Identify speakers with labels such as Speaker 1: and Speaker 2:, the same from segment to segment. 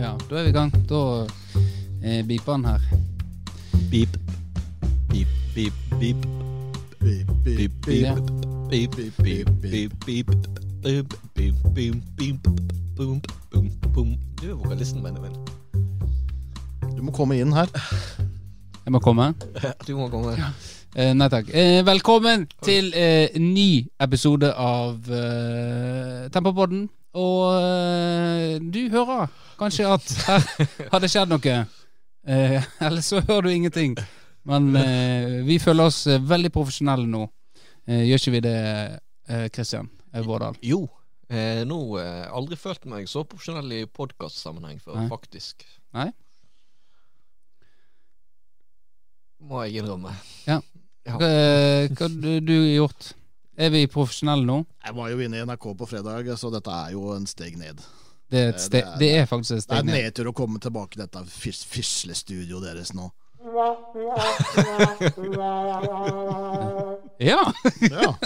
Speaker 1: Ja, da er vi i gang. Da eh, beeper han her.
Speaker 2: Beep. Beep, beep, beep.
Speaker 3: Beep, beep,
Speaker 2: Beep,
Speaker 3: beep.
Speaker 1: Ja.
Speaker 2: beep. Beep, beep, beep, beep, beep. Beep, beep, beep, beep. Boom, boom, boom. Du er vokalisten, Benjamin.
Speaker 3: Du må komme inn her.
Speaker 1: Jeg må komme.
Speaker 2: Du må komme.
Speaker 1: Eh, nei takk. Eh, velkommen til eh, ny episode av eh, Tempopodden. Og eh, du hører kanskje at her har det skjedd noe. Eh, eller så hører du ingenting. Men eh, vi føler oss eh, veldig profesjonelle nå. Eh, gjør ikke vi det, eh, Christian eh, Vårdal?
Speaker 2: Jo. Eh, nå eh, aldri følt meg så profesjonell i podkastsammenheng før,
Speaker 1: Nei.
Speaker 2: faktisk.
Speaker 1: Nei.
Speaker 2: Må jeg innrømme. Ja.
Speaker 1: Hva, eh, hva du, du har gjort? Er vi profesjonelle nå?
Speaker 3: Jeg var jo inne i NRK på fredag, så dette er jo en steg ned.
Speaker 1: Det er, et
Speaker 3: Eh, Det-
Speaker 1: ste
Speaker 3: det er-
Speaker 1: det er faktisk et
Speaker 3: Det er
Speaker 1: steg
Speaker 3: en
Speaker 1: ned.
Speaker 3: nedtur å komme tilbake til dette fis fislestudioet deres nå.
Speaker 1: Ja!
Speaker 3: Ja.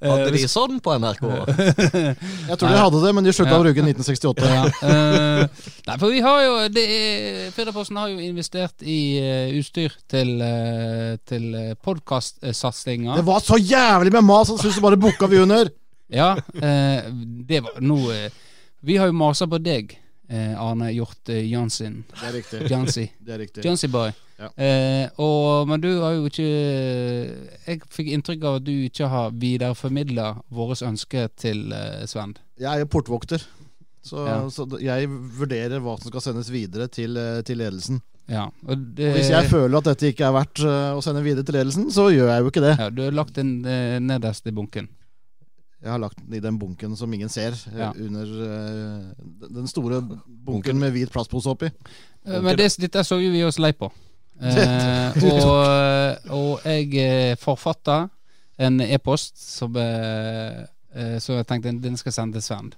Speaker 1: Eh,
Speaker 2: Hadde de sånn på NRK?
Speaker 3: Jeg tror de hadde det, men de slutta å bruke 1968.
Speaker 1: ja. eh, nei, for vi har jo det er- Firdaposten har jo investert i eh, utstyr til, uh, til eh, podcastsatsinga.
Speaker 3: Det var så jævlig med mas, han syntes bare booka vi under!
Speaker 1: Ja, eh, det var nå eh, Vi har jo masa på deg, eh, Arne Hjort eh, Jansin.
Speaker 3: Det er riktig.
Speaker 1: Jansi.
Speaker 3: Det er riktig.
Speaker 1: Jansi Boy.
Speaker 3: Ja.
Speaker 1: Eh, og, men du har jo ikke Jeg fikk inntrykk av at du ikke har videreformidla vårt ønske til eh, Svend.
Speaker 3: Jeg er jo portvokter, så,
Speaker 1: Ja.
Speaker 3: så jeg vurderer hva som skal sendes videre til, eh, til ledelsen.
Speaker 1: Ja, og
Speaker 3: Og
Speaker 1: det,
Speaker 3: Hvis jeg føler at dette ikke er verdt eh, å sende videre til ledelsen, så gjør jeg jo ikke det.
Speaker 1: ja, du har lagt den eh, nederst i bunken.
Speaker 3: Jeg har lagt den i den bunken som ingen ser, eh,
Speaker 1: Ja.
Speaker 3: under eh, den- den store bunken med hvit plastpose oppi.
Speaker 1: Eh, Men det, dette så jo vi oss lei på. Eh, og, og jeg eh, forfatta en e-post som, eh, eh, så jeg tenkte den skal jeg sende til Svend.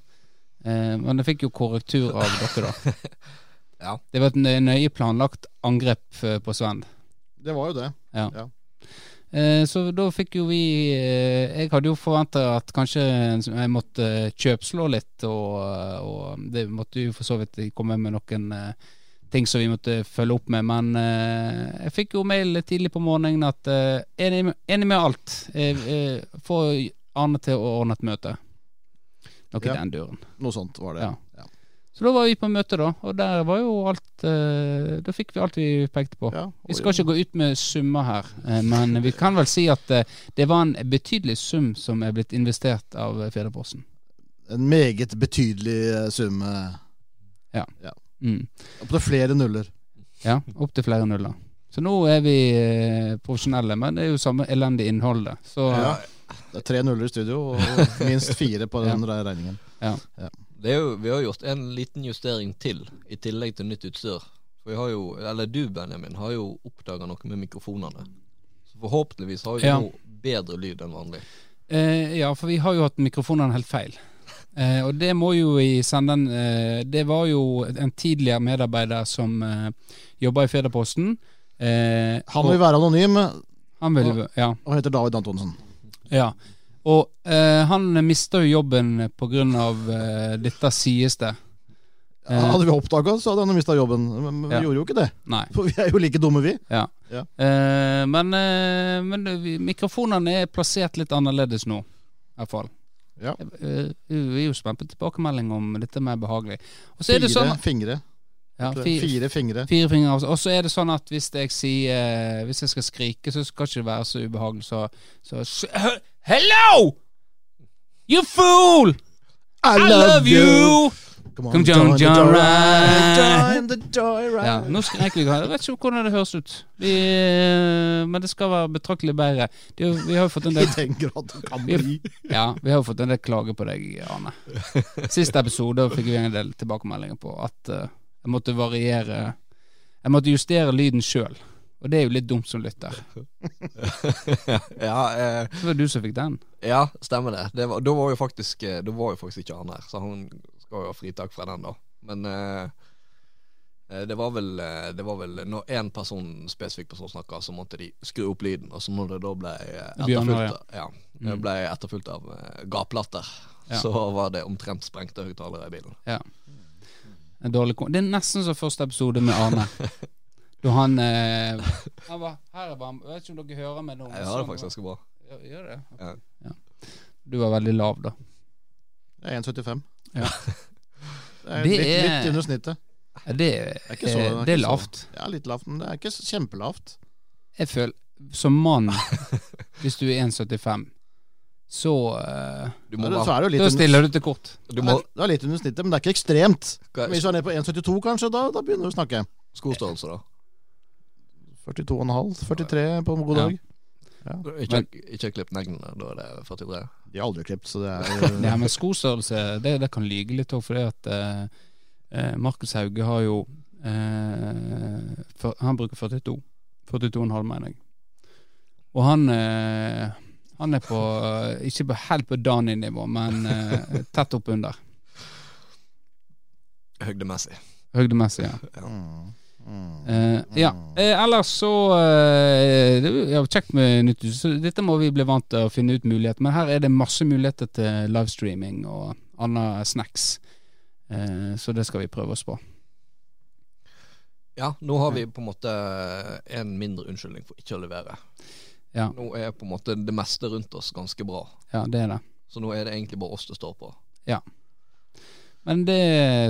Speaker 1: Eh, men jeg fikk jo korrektur av dere, da.
Speaker 2: Ja.
Speaker 1: Det var et nø- nøye planlagt angrep eh, på Svend.
Speaker 3: Det var jo det.
Speaker 1: Eh, Så da fikk jo vi eh, Jeg hadde jo forventa at kanskje jeg måtte eh, kjøpslå litt, og, og det måtte jo for så vidt komme med noen eh, ting som vi måtte følge opp med, men eh, jeg fikk jo mail tidlig på morgenen at eh, enig, med- enig med alt. Eh, eh, Få Arne til å ordne et møte. Noe i
Speaker 3: Ja.
Speaker 1: den duren.
Speaker 3: Noe sånt var det.
Speaker 1: Ja.
Speaker 3: Ja.
Speaker 1: Så da var vi på møte, da, og der var jo alt eh, Da fikk vi alt vi pekte på.
Speaker 3: Ja,
Speaker 1: Vi
Speaker 3: og-
Speaker 1: skal ikke gå ut med summer her, eh, men vi kan vel si at eh, det var en betydelig sum som er blitt investert av eh, Fedreposten.
Speaker 3: En meget betydelig eh, sum. eh,
Speaker 1: Mm.
Speaker 3: Opptil flere nuller.
Speaker 1: Ja, opptil flere nuller. Så nå er vi eh, profesjonelle, men det er jo samme elendige innholdet. Så
Speaker 3: Ja. Det er tre nuller i studio, og minst fire på den re- regningen.
Speaker 2: Det er jo, vi har gjort en liten justering til, i tillegg til nytt utstyr. For vi har jo, eller du, Benjamin, har jo oppdaga noe med mikrofonene. Så forhåpentligvis har vi
Speaker 1: Ja.
Speaker 2: nå bedre lyd enn vanlig.
Speaker 1: Eh, ja, for vi har jo hatt mikrofonene helt feil. Eh, og det må jo i senden eh, Det var jo en tidligere medarbeider som eh, jobba i Federposten. Eh,
Speaker 3: Han vil
Speaker 1: og,
Speaker 3: være anonym
Speaker 1: han ville, ja.
Speaker 3: og heter David Antonsen.
Speaker 1: Ja. Og eh, han mista jo jobben på grunn av eh, dette sies det. Eh.
Speaker 3: Hadde vi oppdaga oss, hadde han mista jobben. Men men vi
Speaker 1: Ja.
Speaker 3: gjorde jo ikke det.
Speaker 1: Nei.
Speaker 3: For vi er jo like dumme, vi.
Speaker 1: Eh, men eh, men vi- mikrofonene er plassert litt annerledes nå, i hvert fall.
Speaker 3: Ja.
Speaker 1: Eh, vi er jo spent på tilbakemelding om dette er mer behagelig. Og så er
Speaker 3: Fire
Speaker 1: det sånn
Speaker 3: fingre.
Speaker 1: ja, fi-
Speaker 3: Fire fingre.
Speaker 1: Fire fingre av Og så er det sånn at hvis jeg sier eh, Hvis jeg skal skrike, så skal ikke det være så ubehagelig, så, så s- Hello! You fool! I love you!
Speaker 3: Come on,
Speaker 1: Come
Speaker 3: join
Speaker 1: on,
Speaker 3: the
Speaker 1: John
Speaker 3: joyride.
Speaker 1: Ryan.
Speaker 3: Join the joyride.
Speaker 1: Ja, nå skreik vi ikke. Jeg vet ikke hvordan det høres ut. Vi, eh, men det skal være betraktelig bedre. Det, er jo- vi har jo fått en
Speaker 3: I
Speaker 1: del
Speaker 3: den grad det kan bli.
Speaker 1: Ja, vi har jo fått en del klager på deg, Arne. Siste episode fikk vi en del tilbakemeldinger på at eh, jeg måtte variere Jeg måtte justere lyden sjøl. Og det er jo litt dumt som lytter.
Speaker 2: ja, eh,
Speaker 1: Det var du som fikk den.
Speaker 2: ja, stemmer det. det var, da, var jo faktisk, eh, da var jo faktisk ikke han her, så han skal jo ha fritak fra den, da. Men eh, eh, det var vel eh, Det var vel når én person, spesifikk person snakka, så måtte de skru opp lyden. Og så når det da ble eh,
Speaker 1: Bjørnar,
Speaker 2: etterfulgt, ja. det ble etterfulgt av eh, gaplatter,
Speaker 1: Mm. Ja.
Speaker 2: så var det omtrent sprengte høyttalere i bilen.
Speaker 1: Ja. En dårlig kom det er nesten som første episode med Arne. Da han eh, Han var her er varm. Jeg vet ikke om dere hører meg nå. men
Speaker 2: Jeg har det
Speaker 1: sånn
Speaker 2: faktisk ganske bra.
Speaker 1: var- Gjør- Gjør det?
Speaker 2: Ja.
Speaker 1: Ok, Ja. Du var veldig lav, da.
Speaker 3: Jeg er 1,75.
Speaker 1: Ja.
Speaker 3: Det er
Speaker 1: Det
Speaker 3: litt,
Speaker 1: er-
Speaker 3: litt under snittet.
Speaker 1: Ja, Det,
Speaker 3: Det er ikke så-
Speaker 1: eh, det
Speaker 3: det er
Speaker 1: er
Speaker 3: ikke så-
Speaker 1: lavt.
Speaker 3: Ja, litt lavt, men det er ikke så kjempelavt.
Speaker 1: Jeg føler Som mann, hvis du er 1,75, så eh,
Speaker 2: Du
Speaker 3: Da
Speaker 2: må
Speaker 3: er det-
Speaker 2: være
Speaker 3: så er det jo
Speaker 1: Da
Speaker 3: litt
Speaker 1: stiller du til kort.
Speaker 2: du
Speaker 3: Nei,
Speaker 2: må,
Speaker 3: Det er litt under snittet, men det er ikke ekstremt.
Speaker 2: hva
Speaker 3: Men
Speaker 2: er
Speaker 3: Hvis du er nede på 1,72 kanskje, da, da begynner du å snakke.
Speaker 2: Skostørrelse, da.
Speaker 3: 42,5, 43 på en god
Speaker 1: Ja.
Speaker 3: dag.
Speaker 2: Ikke, ikke klipp neglene, da er det 43.
Speaker 3: De har aldri klippet, så det er
Speaker 1: Ja, men skostørrelse, det, det kan lyge litt òg, fordi at eh, eh, Markus Hauge har jo eh, for, Han bruker 42. 42,5, mener jeg. Og han eh, Han er på eh, Ikke på, helt på Dani-nivå, men eh, tett oppunder.
Speaker 2: Høgdemessig.
Speaker 1: Høydemessig, ja.
Speaker 3: Mm, mm.
Speaker 1: Eh, ja. Eh, ellers så eh, Det er jo kjekt med nytt hus. så Dette må vi bli vant til å finne ut muligheter. Men her er det masse muligheter til livestreaming og andre snacks. Eh, så det skal vi prøve oss på.
Speaker 2: Ja, nå har vi på en måte eh, en mindre unnskyldning for ikke å levere.
Speaker 1: Ja.
Speaker 2: Nå er på en måte det meste rundt oss ganske bra,
Speaker 1: Ja, det er det.
Speaker 2: så nå er det egentlig bare oss det står på.
Speaker 1: Men det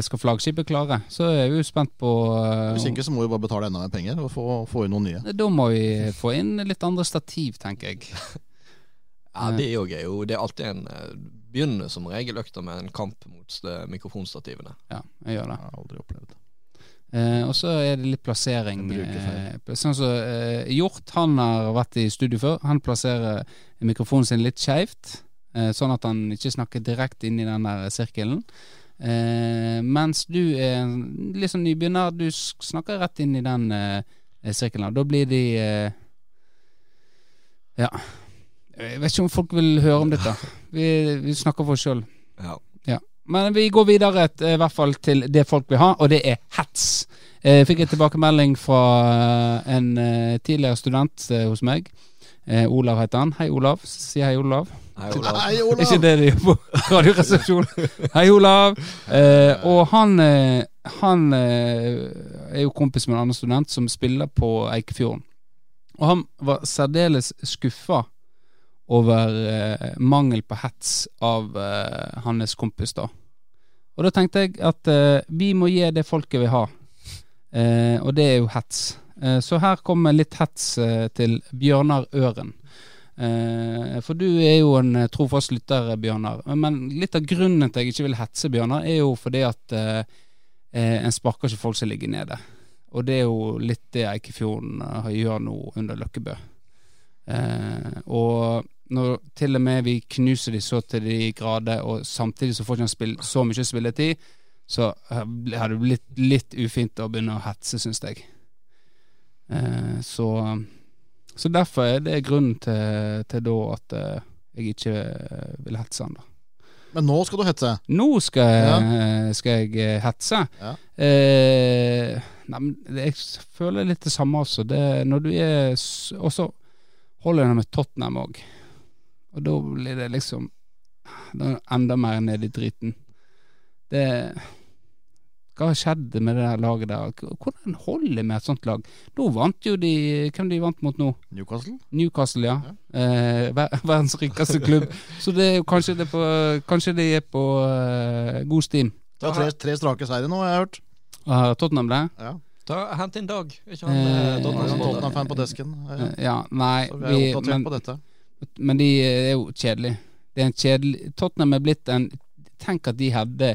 Speaker 1: skal flaggskipet klare. Så er vi jo spent på eh,
Speaker 3: Hvis ikke så må vi bare betale enda mer penger og få, få inn noen nye.
Speaker 1: om- Da må vi få inn litt andre stativ, tenker jeg.
Speaker 2: Ja, det er jo gøy. jo. Det er alltid en eh, Begynner som regel økta med en kamp mot eh, mikrofonstativene.
Speaker 1: Ja, jeg gjør det.
Speaker 3: Jeg har aldri opplevd det.
Speaker 1: Eh, og så er det litt plassering.
Speaker 3: En brukerfeil.
Speaker 1: Eh, sånn som eh, Hjort han har vært i studio før. Han plasserer mikrofonen sin litt skeivt, eh, sånn at han ikke snakker direkte inn i den der sirkelen. Eh, mens du er en litt sånn nybegynner, du s- snakker rett inn i den eh, sirkelen. Da blir de eh, Ja. Jeg vet ikke om folk vil høre om dette. Vi, vi snakker for oss sjøl.
Speaker 2: Ja.
Speaker 1: Men vi går videre t- i hvert fall til det folk vil ha, og det er hets. Eh, Jeg fikk en tilbakemelding fra eh, en eh, tidligere student eh, hos meg. Eh, Olav heter han. Hei, Olav. Si hei, Olav.
Speaker 2: Hei, Olav.
Speaker 3: Hei,
Speaker 1: Det er ikke
Speaker 3: Olav!
Speaker 1: det de gjør på Radioresepsjonen. Hei, Olav. Eh, og han, eh, han eh, er jo kompis med en annen student som spiller på Eikefjorden. Og han var særdeles skuffa over eh, mangel på hets av eh, hans kompis, da. Og da tenkte jeg at eh, vi må gi det folket vil ha, eh, og det er jo hets. Eh, så her kommer litt hets eh, til Bjørnar Øren. Eh, for du er jo en eh, trofast lytter, eh, Bjørnar. Men litt av grunnen til at jeg ikke vil hetse Bjørnar, er jo fordi at eh, eh, en sparker ikke folk som ligger nede. Og det er jo litt det Eikefjorden eh, gjør nå under Løkkebø. Eh, og når til og med vi knuser de så til de grader, og samtidig så får ikke han spill, så mye spilletid, så eh, har det blitt litt ufint å begynne å hetse, syns jeg. Eh, så så derfor er det grunnen til, til da at eh, jeg ikke eh, vil hetse han da.
Speaker 3: Men nå skal du hetse.
Speaker 1: Nå skal, jeg- skal jeg eh, hetse.
Speaker 3: Ja.
Speaker 1: Eh, nei, men det- jeg s- føler litt det samme også. Det, når du er s- Og så holder jeg det med Tottenham òg. Og da blir det liksom da er det enda mer ned i driten. Det Hva har skjedd med det der laget der? K- Hvordan holder med et sånt lag? Nå vant jo de Hvem de vant mot nå?
Speaker 3: Newcastle?
Speaker 1: Newcastle, ja. Eh, ver verdens rikeste klubb. Så det er jo kanskje det på, kanskje de er på eh, god stim.
Speaker 3: Det er tre, tre strake seire nå, har jeg hørt.
Speaker 1: Har Tottenham det?
Speaker 3: Ja.
Speaker 2: Ta, hent inn Dag. Er ikke han eh,
Speaker 1: Eh,
Speaker 3: Det er
Speaker 2: Tottenham?
Speaker 3: en
Speaker 1: Tottenham.
Speaker 2: Tottenham.
Speaker 3: Tottenham-fan på desken. Ja, ja.
Speaker 1: Eh, ja, nei.
Speaker 3: Så vi er
Speaker 1: Vi,
Speaker 3: oppdatert
Speaker 1: men,
Speaker 3: på dette.
Speaker 1: men de eh, er jo kjedelige. Det er en kjedelig Tottenham er blitt en Tenk at de hadde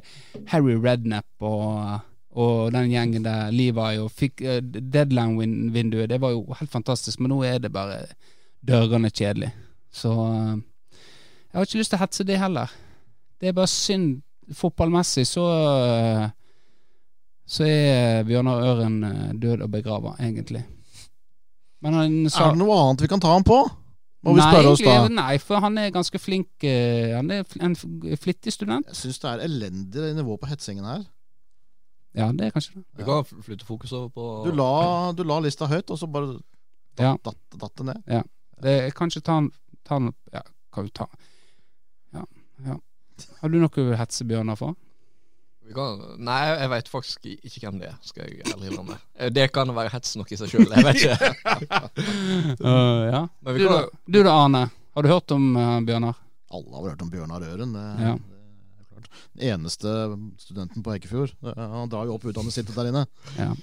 Speaker 1: Harry Redknapp og, og den gjengen der, Levi, og fikk eh, deadline-vinduet. Det var jo helt fantastisk, men nå er det bare dørgende kjedelig. Så eh, jeg har ikke lyst til å hetse det heller. Det er bare synd fotballmessig så eh, Så er Bjørnar Øren eh, død og begrava, egentlig. Men han sa
Speaker 3: Er det noe annet vi kan ta ham på? Må vi spørre oss da.
Speaker 1: egentlig- Nei, for han er ganske flink. eh, Han er fl- en f- flittig student.
Speaker 3: Jeg syns det er elendig nivå på hetsingen her.
Speaker 1: Ja, det er kanskje det.
Speaker 2: Du kan flytte fokus over på
Speaker 3: Du la, du la lista høyt, og så bare datt,
Speaker 1: Ja.
Speaker 3: datt, datt det ned.
Speaker 1: det jeg kan ikke ta han, ta han Ja, kan jo ta Ja. ja. Har du noe å hetse Bjørnar for?
Speaker 2: Vi Vi kan, nei, jeg veit faktisk ikke hvem det er, skal jeg ærlig innrømme. Eh, Det kan være hets nok i seg sjøl, jeg vet ikke.
Speaker 1: Øh, ja.
Speaker 2: Men
Speaker 1: du,
Speaker 2: vi
Speaker 1: da,
Speaker 2: kan,
Speaker 1: du da, Arne. Har du hørt om eh, Bjørnar?
Speaker 3: Alle har vel hørt om Bjørnar Øren. Det,
Speaker 1: Ja.
Speaker 3: det er klart. Den eneste studenten på Eikefjord. Det- Han drar jo opp utdannelsen sin der inne.
Speaker 1: Ja.
Speaker 3: Jeg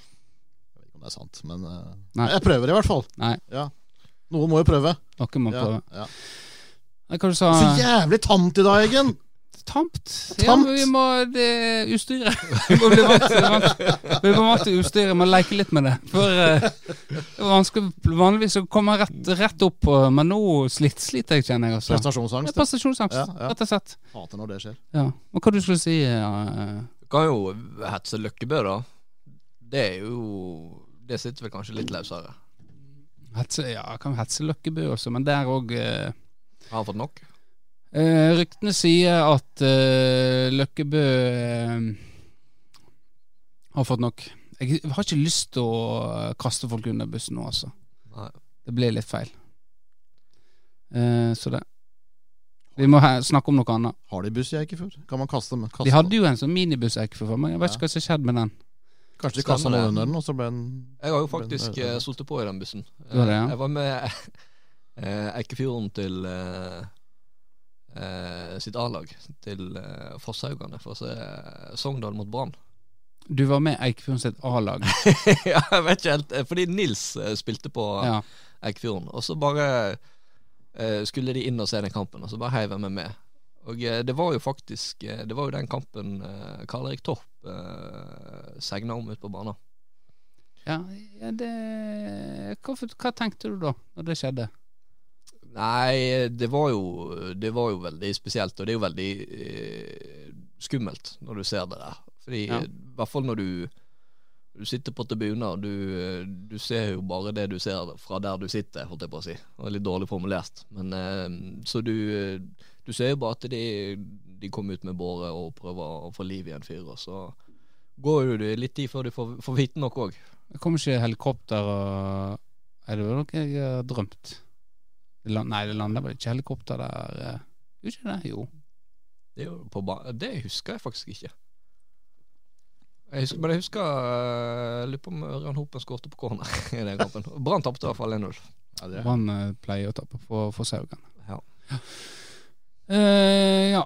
Speaker 3: vet ikke om det er sant, men eh,
Speaker 1: Nei.
Speaker 3: jeg prøver i hvert fall.
Speaker 1: Nei.
Speaker 3: Ja. Noen må jo prøve.
Speaker 1: Noen må
Speaker 3: Ja,
Speaker 1: prøve. Ah.
Speaker 3: ja.
Speaker 1: Nei, Hva du sa
Speaker 3: Så jævlig tamt i dag, Eggen!
Speaker 1: Tamt. Ja,
Speaker 3: Tamt.
Speaker 1: men vi må det utstyret. Vi må bli vant til vant- vi må vant til utstyret, må leke litt med det. For eh, det var vanskelig, Vanligvis så kommer jeg rett, rett opp, og- men nå slit, sliter jeg, kjenner jeg. altså Det
Speaker 3: Prestasjonsangst.
Speaker 1: er prestasjonsangst,
Speaker 3: Ja, ja.
Speaker 1: rett og slett.
Speaker 3: Hater når det skjer.
Speaker 1: Ja. Og hva du skulle si? eh,
Speaker 2: kan jo hetse Løkkebø, da. Det er jo Det sitter vel kanskje litt løsere.
Speaker 1: hetse, ja, jeg kan hetse Løkkebø også, eh, men der òg
Speaker 2: Har han fått nok?
Speaker 1: Eh, ryktene sier at eh, Løkkebø eh, har fått nok. Jeg har ikke lyst til å eh, kaste folk under bussen nå, altså.
Speaker 2: Nei.
Speaker 1: Det ble litt feil. Eh, så det. Vi må he- snakke om noe annet.
Speaker 3: Har de buss i Eikefjord? Kan man kaste dem? Kaste
Speaker 1: De hadde jo en sånn minibuss jeg ikke får for meg. Jeg vet
Speaker 3: Ja.
Speaker 1: ikke hva som skjedde med den.
Speaker 3: Kanskje de kasta
Speaker 2: Stemmer det.
Speaker 3: noen under den, og så ble den
Speaker 2: Jeg har jo
Speaker 3: ble den
Speaker 2: faktisk
Speaker 3: ødelagt.
Speaker 2: eh, sittet på i den bussen.
Speaker 1: Du har det, ja.
Speaker 2: Jeg var med eh, Eikefjorden til eh, eh, sitt A-lag, til eh, Fosshaugane, for å se eh, Sogndal mot Brann.
Speaker 1: Du var med Eikefjorden sitt A-lag.
Speaker 2: ja, jeg vet ikke helt, eh, fordi Nils eh, spilte på
Speaker 1: Ja.
Speaker 2: Eikefjorden, og så bare eh, skulle de inn og se den kampen, og så bare heiv jeg meg med. Og eh, det var jo faktisk eh, Det var jo den kampen eh, Karl Erik Torp eh, segna om ute på banen.
Speaker 1: ja, ja det hva, hva tenkte du da, når det skjedde?
Speaker 2: Nei, det var jo Det var jo veldig spesielt, og det er jo veldig eh, skummelt når du ser det der. Fordi,
Speaker 1: Ja.
Speaker 2: I hvert fall når du Du sitter på tribuner, og du, eh, du ser jo bare det du ser fra der du sitter, holdt jeg på å si. Det var litt dårlig formulert. Men eh, så du eh, Du ser jo bare at de, de kommer ut med båre og prøver å få liv i en fyr, og så går jo det litt tid før du får, får vite noe òg.
Speaker 1: Det kom ikke helikopter og Nei, det var noe jeg har drømt. Det land, nei, det landa vel ikke helikopter der eh. Gjorde ikke det? Jo.
Speaker 2: Det, er jo på ba- det husker jeg faktisk ikke. Jeg husker, men jeg husker eh, Lurer på om Ørjan Hopen skårte på corner i den kampen. Brann tapte i hvert fall 1-0.
Speaker 3: Ja, det er-
Speaker 1: Brann eh, pleier å tape for, for Saugan.
Speaker 2: Ja.
Speaker 1: Eh, ja.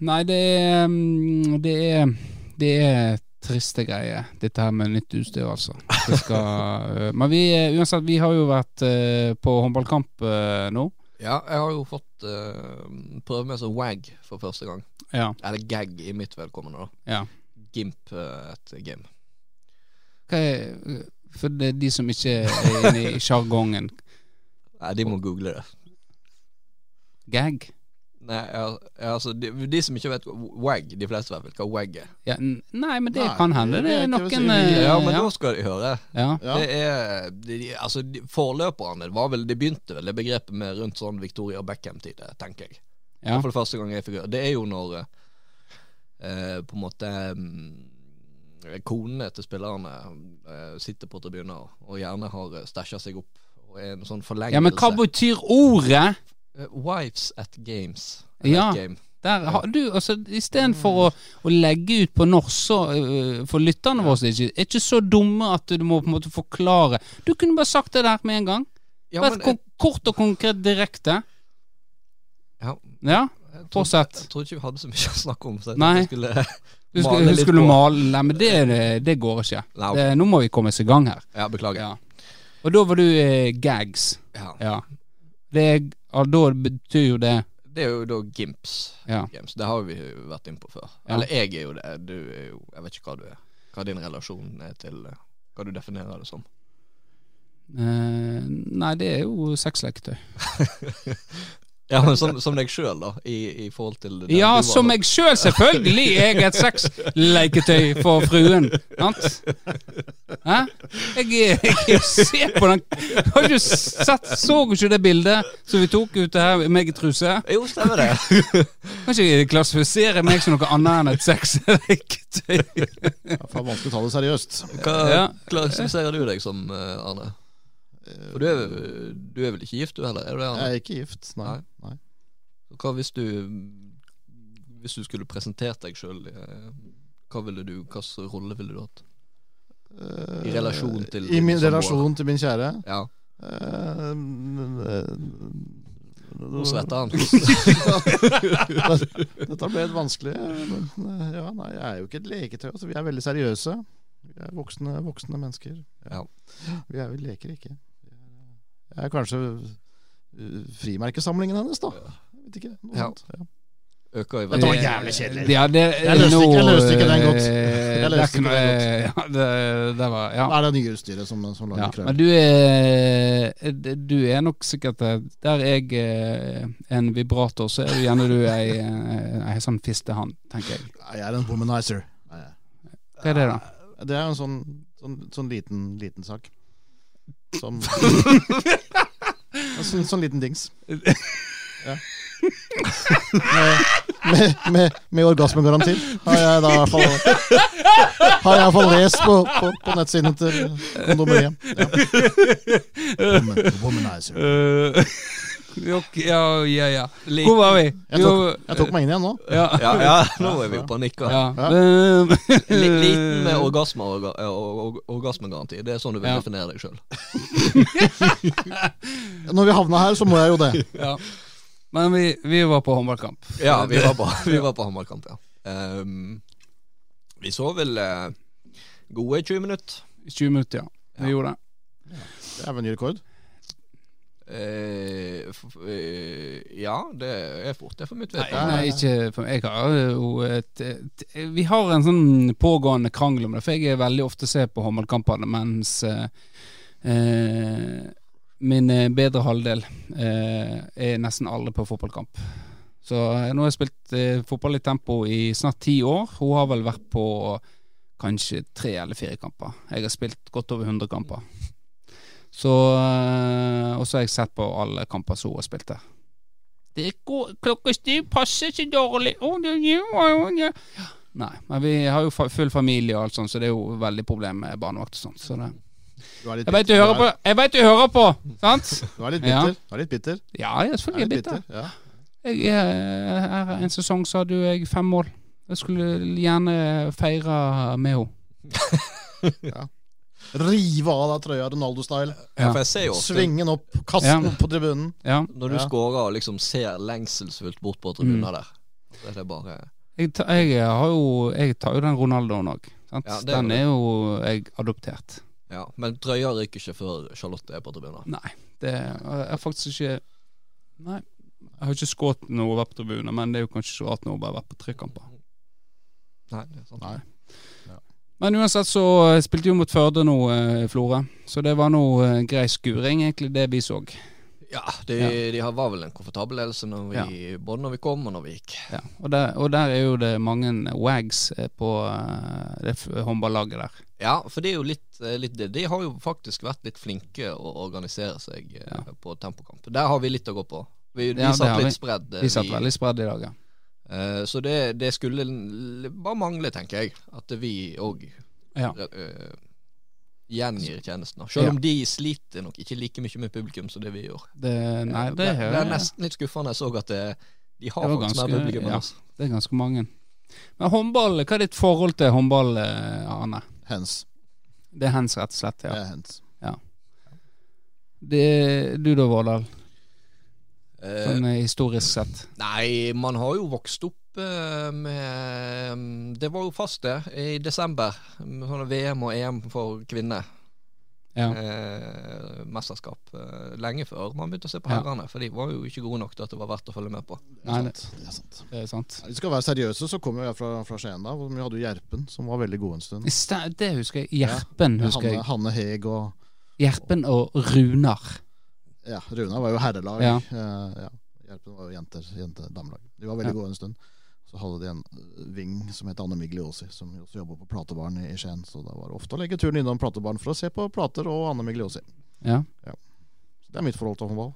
Speaker 1: Nei, det er mm, Det er, det er triste greier, dette her med nytt utstyr, altså. Det skal, eh, men vi, eh, uansett, vi har jo vært eh, på håndballkamp eh, nå.
Speaker 2: ja, jeg har jo fått eh, prøve meg som wag for første gang.
Speaker 1: Ja.
Speaker 2: Eller gag i mitt vedkommende, da.
Speaker 1: ja.
Speaker 2: Gimp eh, et game.
Speaker 1: Hva er, eh, for det er de som ikke er inne i sjargongen.
Speaker 2: Nei, de må google det.
Speaker 1: Gag?
Speaker 2: Nei, al- altså de, de som ikke vet wag, de fleste vet vel hva wag er.
Speaker 1: Ja, n- nei, men det
Speaker 3: Nei,
Speaker 1: kan hende.
Speaker 3: det
Speaker 1: Det
Speaker 3: vet
Speaker 1: er
Speaker 3: jeg
Speaker 1: noen
Speaker 3: hvis jeg vil.
Speaker 1: eh,
Speaker 2: Ja, men
Speaker 1: ja,
Speaker 2: da skal de høre.
Speaker 1: ja.
Speaker 3: ja.
Speaker 2: Det er de, de- Altså, de, forløperne var vel Det begynte vel det begrepet med rundt sånn Victoria Beckham-tid, tenker jeg.
Speaker 1: Ja.
Speaker 2: For det første gang jeg fikk høre Det er jo når eh, eh, på en måte mm, konene til spillerne eh, sitter på tribuner og gjerne har stæsja seg opp. Og er en sånn forlengelse.
Speaker 1: ja, men hva betyr ordet?
Speaker 2: Eh, Wives at games.
Speaker 1: Ja.
Speaker 2: At game.
Speaker 1: Der har du, altså Istedenfor å, å legge ut på norsk, så eh, for lytterne våre som ikke er ikke så dumme at du må på en måte forklare. Du kunne bare sagt det der med en gang.
Speaker 2: Ja,
Speaker 1: Vært
Speaker 2: men
Speaker 1: kon- kort og konkret direkte.
Speaker 2: Ja.
Speaker 1: Ja,
Speaker 2: jeg, jeg, trodde,
Speaker 1: fortsett.
Speaker 2: jeg trodde ikke vi hadde så mye å snakke om. Så jeg tenkte
Speaker 1: Nei.
Speaker 2: jeg skulle,
Speaker 1: Du
Speaker 2: Male
Speaker 1: skulle,
Speaker 2: litt
Speaker 1: du skulle
Speaker 2: på.
Speaker 1: male Nei, men det, det går ikke.
Speaker 2: Nei, ok.
Speaker 1: Det, nå må vi komme oss i gang her.
Speaker 2: ja, beklager.
Speaker 1: Ja. Og da var du eh, gags.
Speaker 2: Ja.
Speaker 1: Ja. Det, er- ja, da betyr jo det
Speaker 2: Det er jo da gimps.
Speaker 1: Ja.
Speaker 2: Games. Det har vi jo vært inne på før.
Speaker 1: Ja.
Speaker 2: Eller jeg er jo det. Du er jo Jeg vet ikke hva du er. Hva din relasjon er til eh, Hva du definerer det som.
Speaker 1: Eh, nei, det er jo sexleketøy.
Speaker 2: Ja, men som, som deg sjøl, da. I, I forhold til den
Speaker 1: Ja,
Speaker 2: du var
Speaker 1: som
Speaker 2: nå.
Speaker 1: jeg sjøl, selv, selvfølgelig! Jeg er et sexleketøy for fruen. Sant? Hæ? Jeg, er- jeg ser på den Har du sett Så du ikke det bildet som vi tok ut her, meg i truse?
Speaker 2: Jo, stemmer det.
Speaker 1: Kan ikke jeg klassifisere meg som noe annet enn et sexleketøy?
Speaker 3: Ja, faen, vanskelig å ta det seriøst.
Speaker 2: Hva
Speaker 1: Ja.
Speaker 2: klassifiserer du deg som, eh, Arne? For du er, du er vel ikke gift, du heller? Er du det,
Speaker 3: Jeg
Speaker 2: Arne?
Speaker 3: er ikke gift, nei. nei.
Speaker 2: Hva hvis du Hvis du skulle presentert deg sjøl eh, Hva ville du, hva slags rolle ville du hatt?
Speaker 3: Eh,
Speaker 2: I relasjon til
Speaker 3: I min
Speaker 2: samboer.
Speaker 3: relasjon til min kjære. Eh,
Speaker 2: Ja, nå
Speaker 1: Mm.
Speaker 3: Uh,
Speaker 2: svetter han.
Speaker 3: Dette ble litt vanskelig. Men, eh, ja, nei, jeg er jo ikke et leketøy. Altså. Vi er veldig seriøse. Vi er voksne, voksne mennesker.
Speaker 2: Ja.
Speaker 3: Vi, er, vi leker ikke. Jeg er kanskje eh, frimerkesamlingen hennes, da. Jeg vet ikke. Noe
Speaker 2: Ja.
Speaker 3: sånt. Ja.
Speaker 2: Øker i
Speaker 3: Dette var
Speaker 2: verdi.
Speaker 3: jævlig kjedelig.
Speaker 1: Ja, det, eh,
Speaker 3: Jeg løste ikke- jeg løste ikke den godt.
Speaker 1: Jeg
Speaker 3: løste ikke den
Speaker 1: godt. Ja, det, det var, ja.
Speaker 3: Er det nye utstyret som, som lager
Speaker 1: Ja,
Speaker 3: krøll?
Speaker 1: men du er, eh, du er nok sikkert eh, Der jeg eh, er en vibrator, så er du gjerne du ei, eh, ei sånn fistehann, tenker jeg.
Speaker 3: Nei, Jeg er en womanizer. Nei, jeg-
Speaker 1: Hva er det, da?
Speaker 3: Det er jo en sånn, sånn, sånn liten, liten sak. Som En sånn, sånn liten dings. Ja. Med, med, med, med orgasmegaranti, har jeg da i hvert fall Har jeg i hvert fall lest på, på, på nettsiden til kondomeriet. Ja. Woman, womanizer.
Speaker 1: ja, ja, ja. Hvor var vi?
Speaker 3: Jeg tok, jeg tok meg inn igjen nå.
Speaker 1: ja.
Speaker 2: Ja, ja, nå er vi på panikk. Ja. Li- Liten med orgasme, orga, eh, or- or- orgasmegaranti. Det er sånn du vil
Speaker 1: Ja.
Speaker 2: definere deg sjøl.
Speaker 3: Når vi havna her, så må jeg jo det.
Speaker 1: ja. Men vi, vi var på håndballkamp.
Speaker 2: Ja, vi var på, vi var på Hammarkamp, ja. Ehm, vi så vel eh, gode 20 minutter.
Speaker 1: I 20 minutter, ja. Vi
Speaker 2: Ja.
Speaker 1: gjorde det.
Speaker 3: Det er vel ny rekord.
Speaker 2: Eh, f f- eh, ja, det er fort. Det er for mitt
Speaker 1: Nei,
Speaker 2: vedkommende.
Speaker 1: nei, ikke for meg. Jeg har jo et, et, vi har en sånn pågående krangel om det, for jeg er veldig ofte ser på håndballkampene mens eh, eh, min eh, bedre halvdel eh, er nesten aldri på fotballkamp. Så eh, nå har jeg spilt eh, fotball i tempo i snart ti år. Hun har vel vært på kanskje tre eller fire kamper. Jeg har spilt godt over 100 kamper. Så eh, Og så har jeg sett på alle kamper som hun har spilt der. Det går, klokkestiv passer så dårlig Å, det gjør jeg, å, det- Nei, men vi har jo fa- full familie og alt sånt, så det er jo veldig problem med barnevakt og sånt. Så det.
Speaker 3: Du er litt
Speaker 1: Jeg veit du
Speaker 3: bitter.
Speaker 1: hører på! Jeg vet du hører på Sant?
Speaker 3: Du er litt
Speaker 1: Ja.
Speaker 3: bitter. Du er litt bitter.
Speaker 1: Ja, jeg er
Speaker 3: Du er
Speaker 1: selvfølgelig
Speaker 3: litt
Speaker 1: bitter.
Speaker 3: bitter. Ja.
Speaker 1: Jeg, er- her en sesong så hadde jo jeg fem mål. Jeg skulle gjerne feire med henne.
Speaker 3: Rive av deg trøya Ronaldo-style.
Speaker 2: Ja, for jeg ser jo ofte
Speaker 3: Svinge den opp, kaste
Speaker 1: Ja.
Speaker 3: den opp på tribunen.
Speaker 1: Ja.
Speaker 2: når du
Speaker 3: Ja.
Speaker 2: scorer og liksom ser lengselsfullt bort på tribunen der. Det er bare
Speaker 1: Jeg, ta, jeg, har jo, jeg tar jo den Ronaldoen òg.
Speaker 2: Ja, det gjør
Speaker 1: den
Speaker 2: du.
Speaker 1: er jo jeg adoptert.
Speaker 2: Ja, men drøyer ryker ikke før Charlotte er på tribunen.
Speaker 1: Nei, det jeg har faktisk ikke Nei. Jeg har ikke skutt noe vært på tribunen, men det er jo kanskje så rart når hun bare har vært på tre kamper.
Speaker 2: Nei, det er sant.
Speaker 3: Nei.
Speaker 1: Men uansett så eh, spilte vi mot Førde nå, eh, Florø. Så det var nå eh, grei skuring, egentlig, det vi så.
Speaker 2: Ja, de, de har- var vel en komfortabel ledelse når vi, både når vi kom og når vi gikk.
Speaker 1: Ja, og, der, og der er jo det mange wags eh, på eh, det f- håndballaget der.
Speaker 2: Ja, for det er jo litt, eh, litt det. De har jo faktisk vært litt flinke å organisere seg eh,
Speaker 1: Ja.
Speaker 2: på tempokamp. Der har vi litt å gå på. Vi, vi
Speaker 1: Ja, det har
Speaker 2: satt
Speaker 1: vi.
Speaker 2: litt spredd. eh,
Speaker 1: De satt
Speaker 2: vi-
Speaker 1: veldig spredd i dag, ja.
Speaker 2: eh, Så det, det skulle l- bare mangle, tenker jeg, at vi òg
Speaker 1: Ja.
Speaker 2: eh, gjengir tjenesten. da. Selv om de sliter nok ikke like mye med publikum som det vi gjør. Eh,
Speaker 1: Det, nei, det,
Speaker 2: det,
Speaker 1: hører
Speaker 2: det er
Speaker 1: jeg.
Speaker 2: nesten litt skuffende. Jeg så at det, de har
Speaker 1: Det var
Speaker 2: faktisk
Speaker 1: ganske-
Speaker 2: mer publikum enn
Speaker 1: ja.
Speaker 2: oss.
Speaker 1: det er ganske mange. Men håndball, hva er ditt forhold til håndball, eh, Arne?
Speaker 3: Hands.
Speaker 1: Det er hands, rett og slett.
Speaker 3: Det
Speaker 1: ja.
Speaker 3: er hands.
Speaker 1: Det, du da, Vårdal?
Speaker 2: Eh,
Speaker 1: Sånn eh, historisk sett.
Speaker 2: Nei, man har jo vokst opp eh, med mm, Det var jo fast det, i desember. med Sånne VM og EM for kvinner.
Speaker 1: Ja.
Speaker 2: Eh, mesterskap. Eh, lenge før man begynte å se på
Speaker 1: Ja.
Speaker 2: herrene, for de var jo ikke gode nok til at det var verdt å følge med på.
Speaker 3: Det er
Speaker 1: Nei,
Speaker 3: sant. Det er sant.
Speaker 1: Det er sant.
Speaker 3: Ja, Vi skal være seriøse, så kommer jeg fra, fra Skien da. Hvor vi hadde jo Gjerpen, som var veldig god en stund.
Speaker 1: I sta- Det husker jeg. Gjerpen, husker
Speaker 3: Hanne,
Speaker 1: jeg.
Speaker 3: Hanne Heg og
Speaker 1: Gjerpen og Runar.
Speaker 3: ja, Runa var jo herrelag.
Speaker 1: Ja.
Speaker 3: Eh, ja. Gjerpen var jo jenter, jente, damelag. De var veldig
Speaker 1: Ja.
Speaker 3: gode en stund. Så hadde de en eh, ving som het Anne Migliosi, som jo også jobba på platebaren i i Skien. Så da var det ofte å legge turen innom platebaren for å se på plater og Anne Migliosi.
Speaker 1: Ja.
Speaker 3: Så det er mitt forhold til håndball.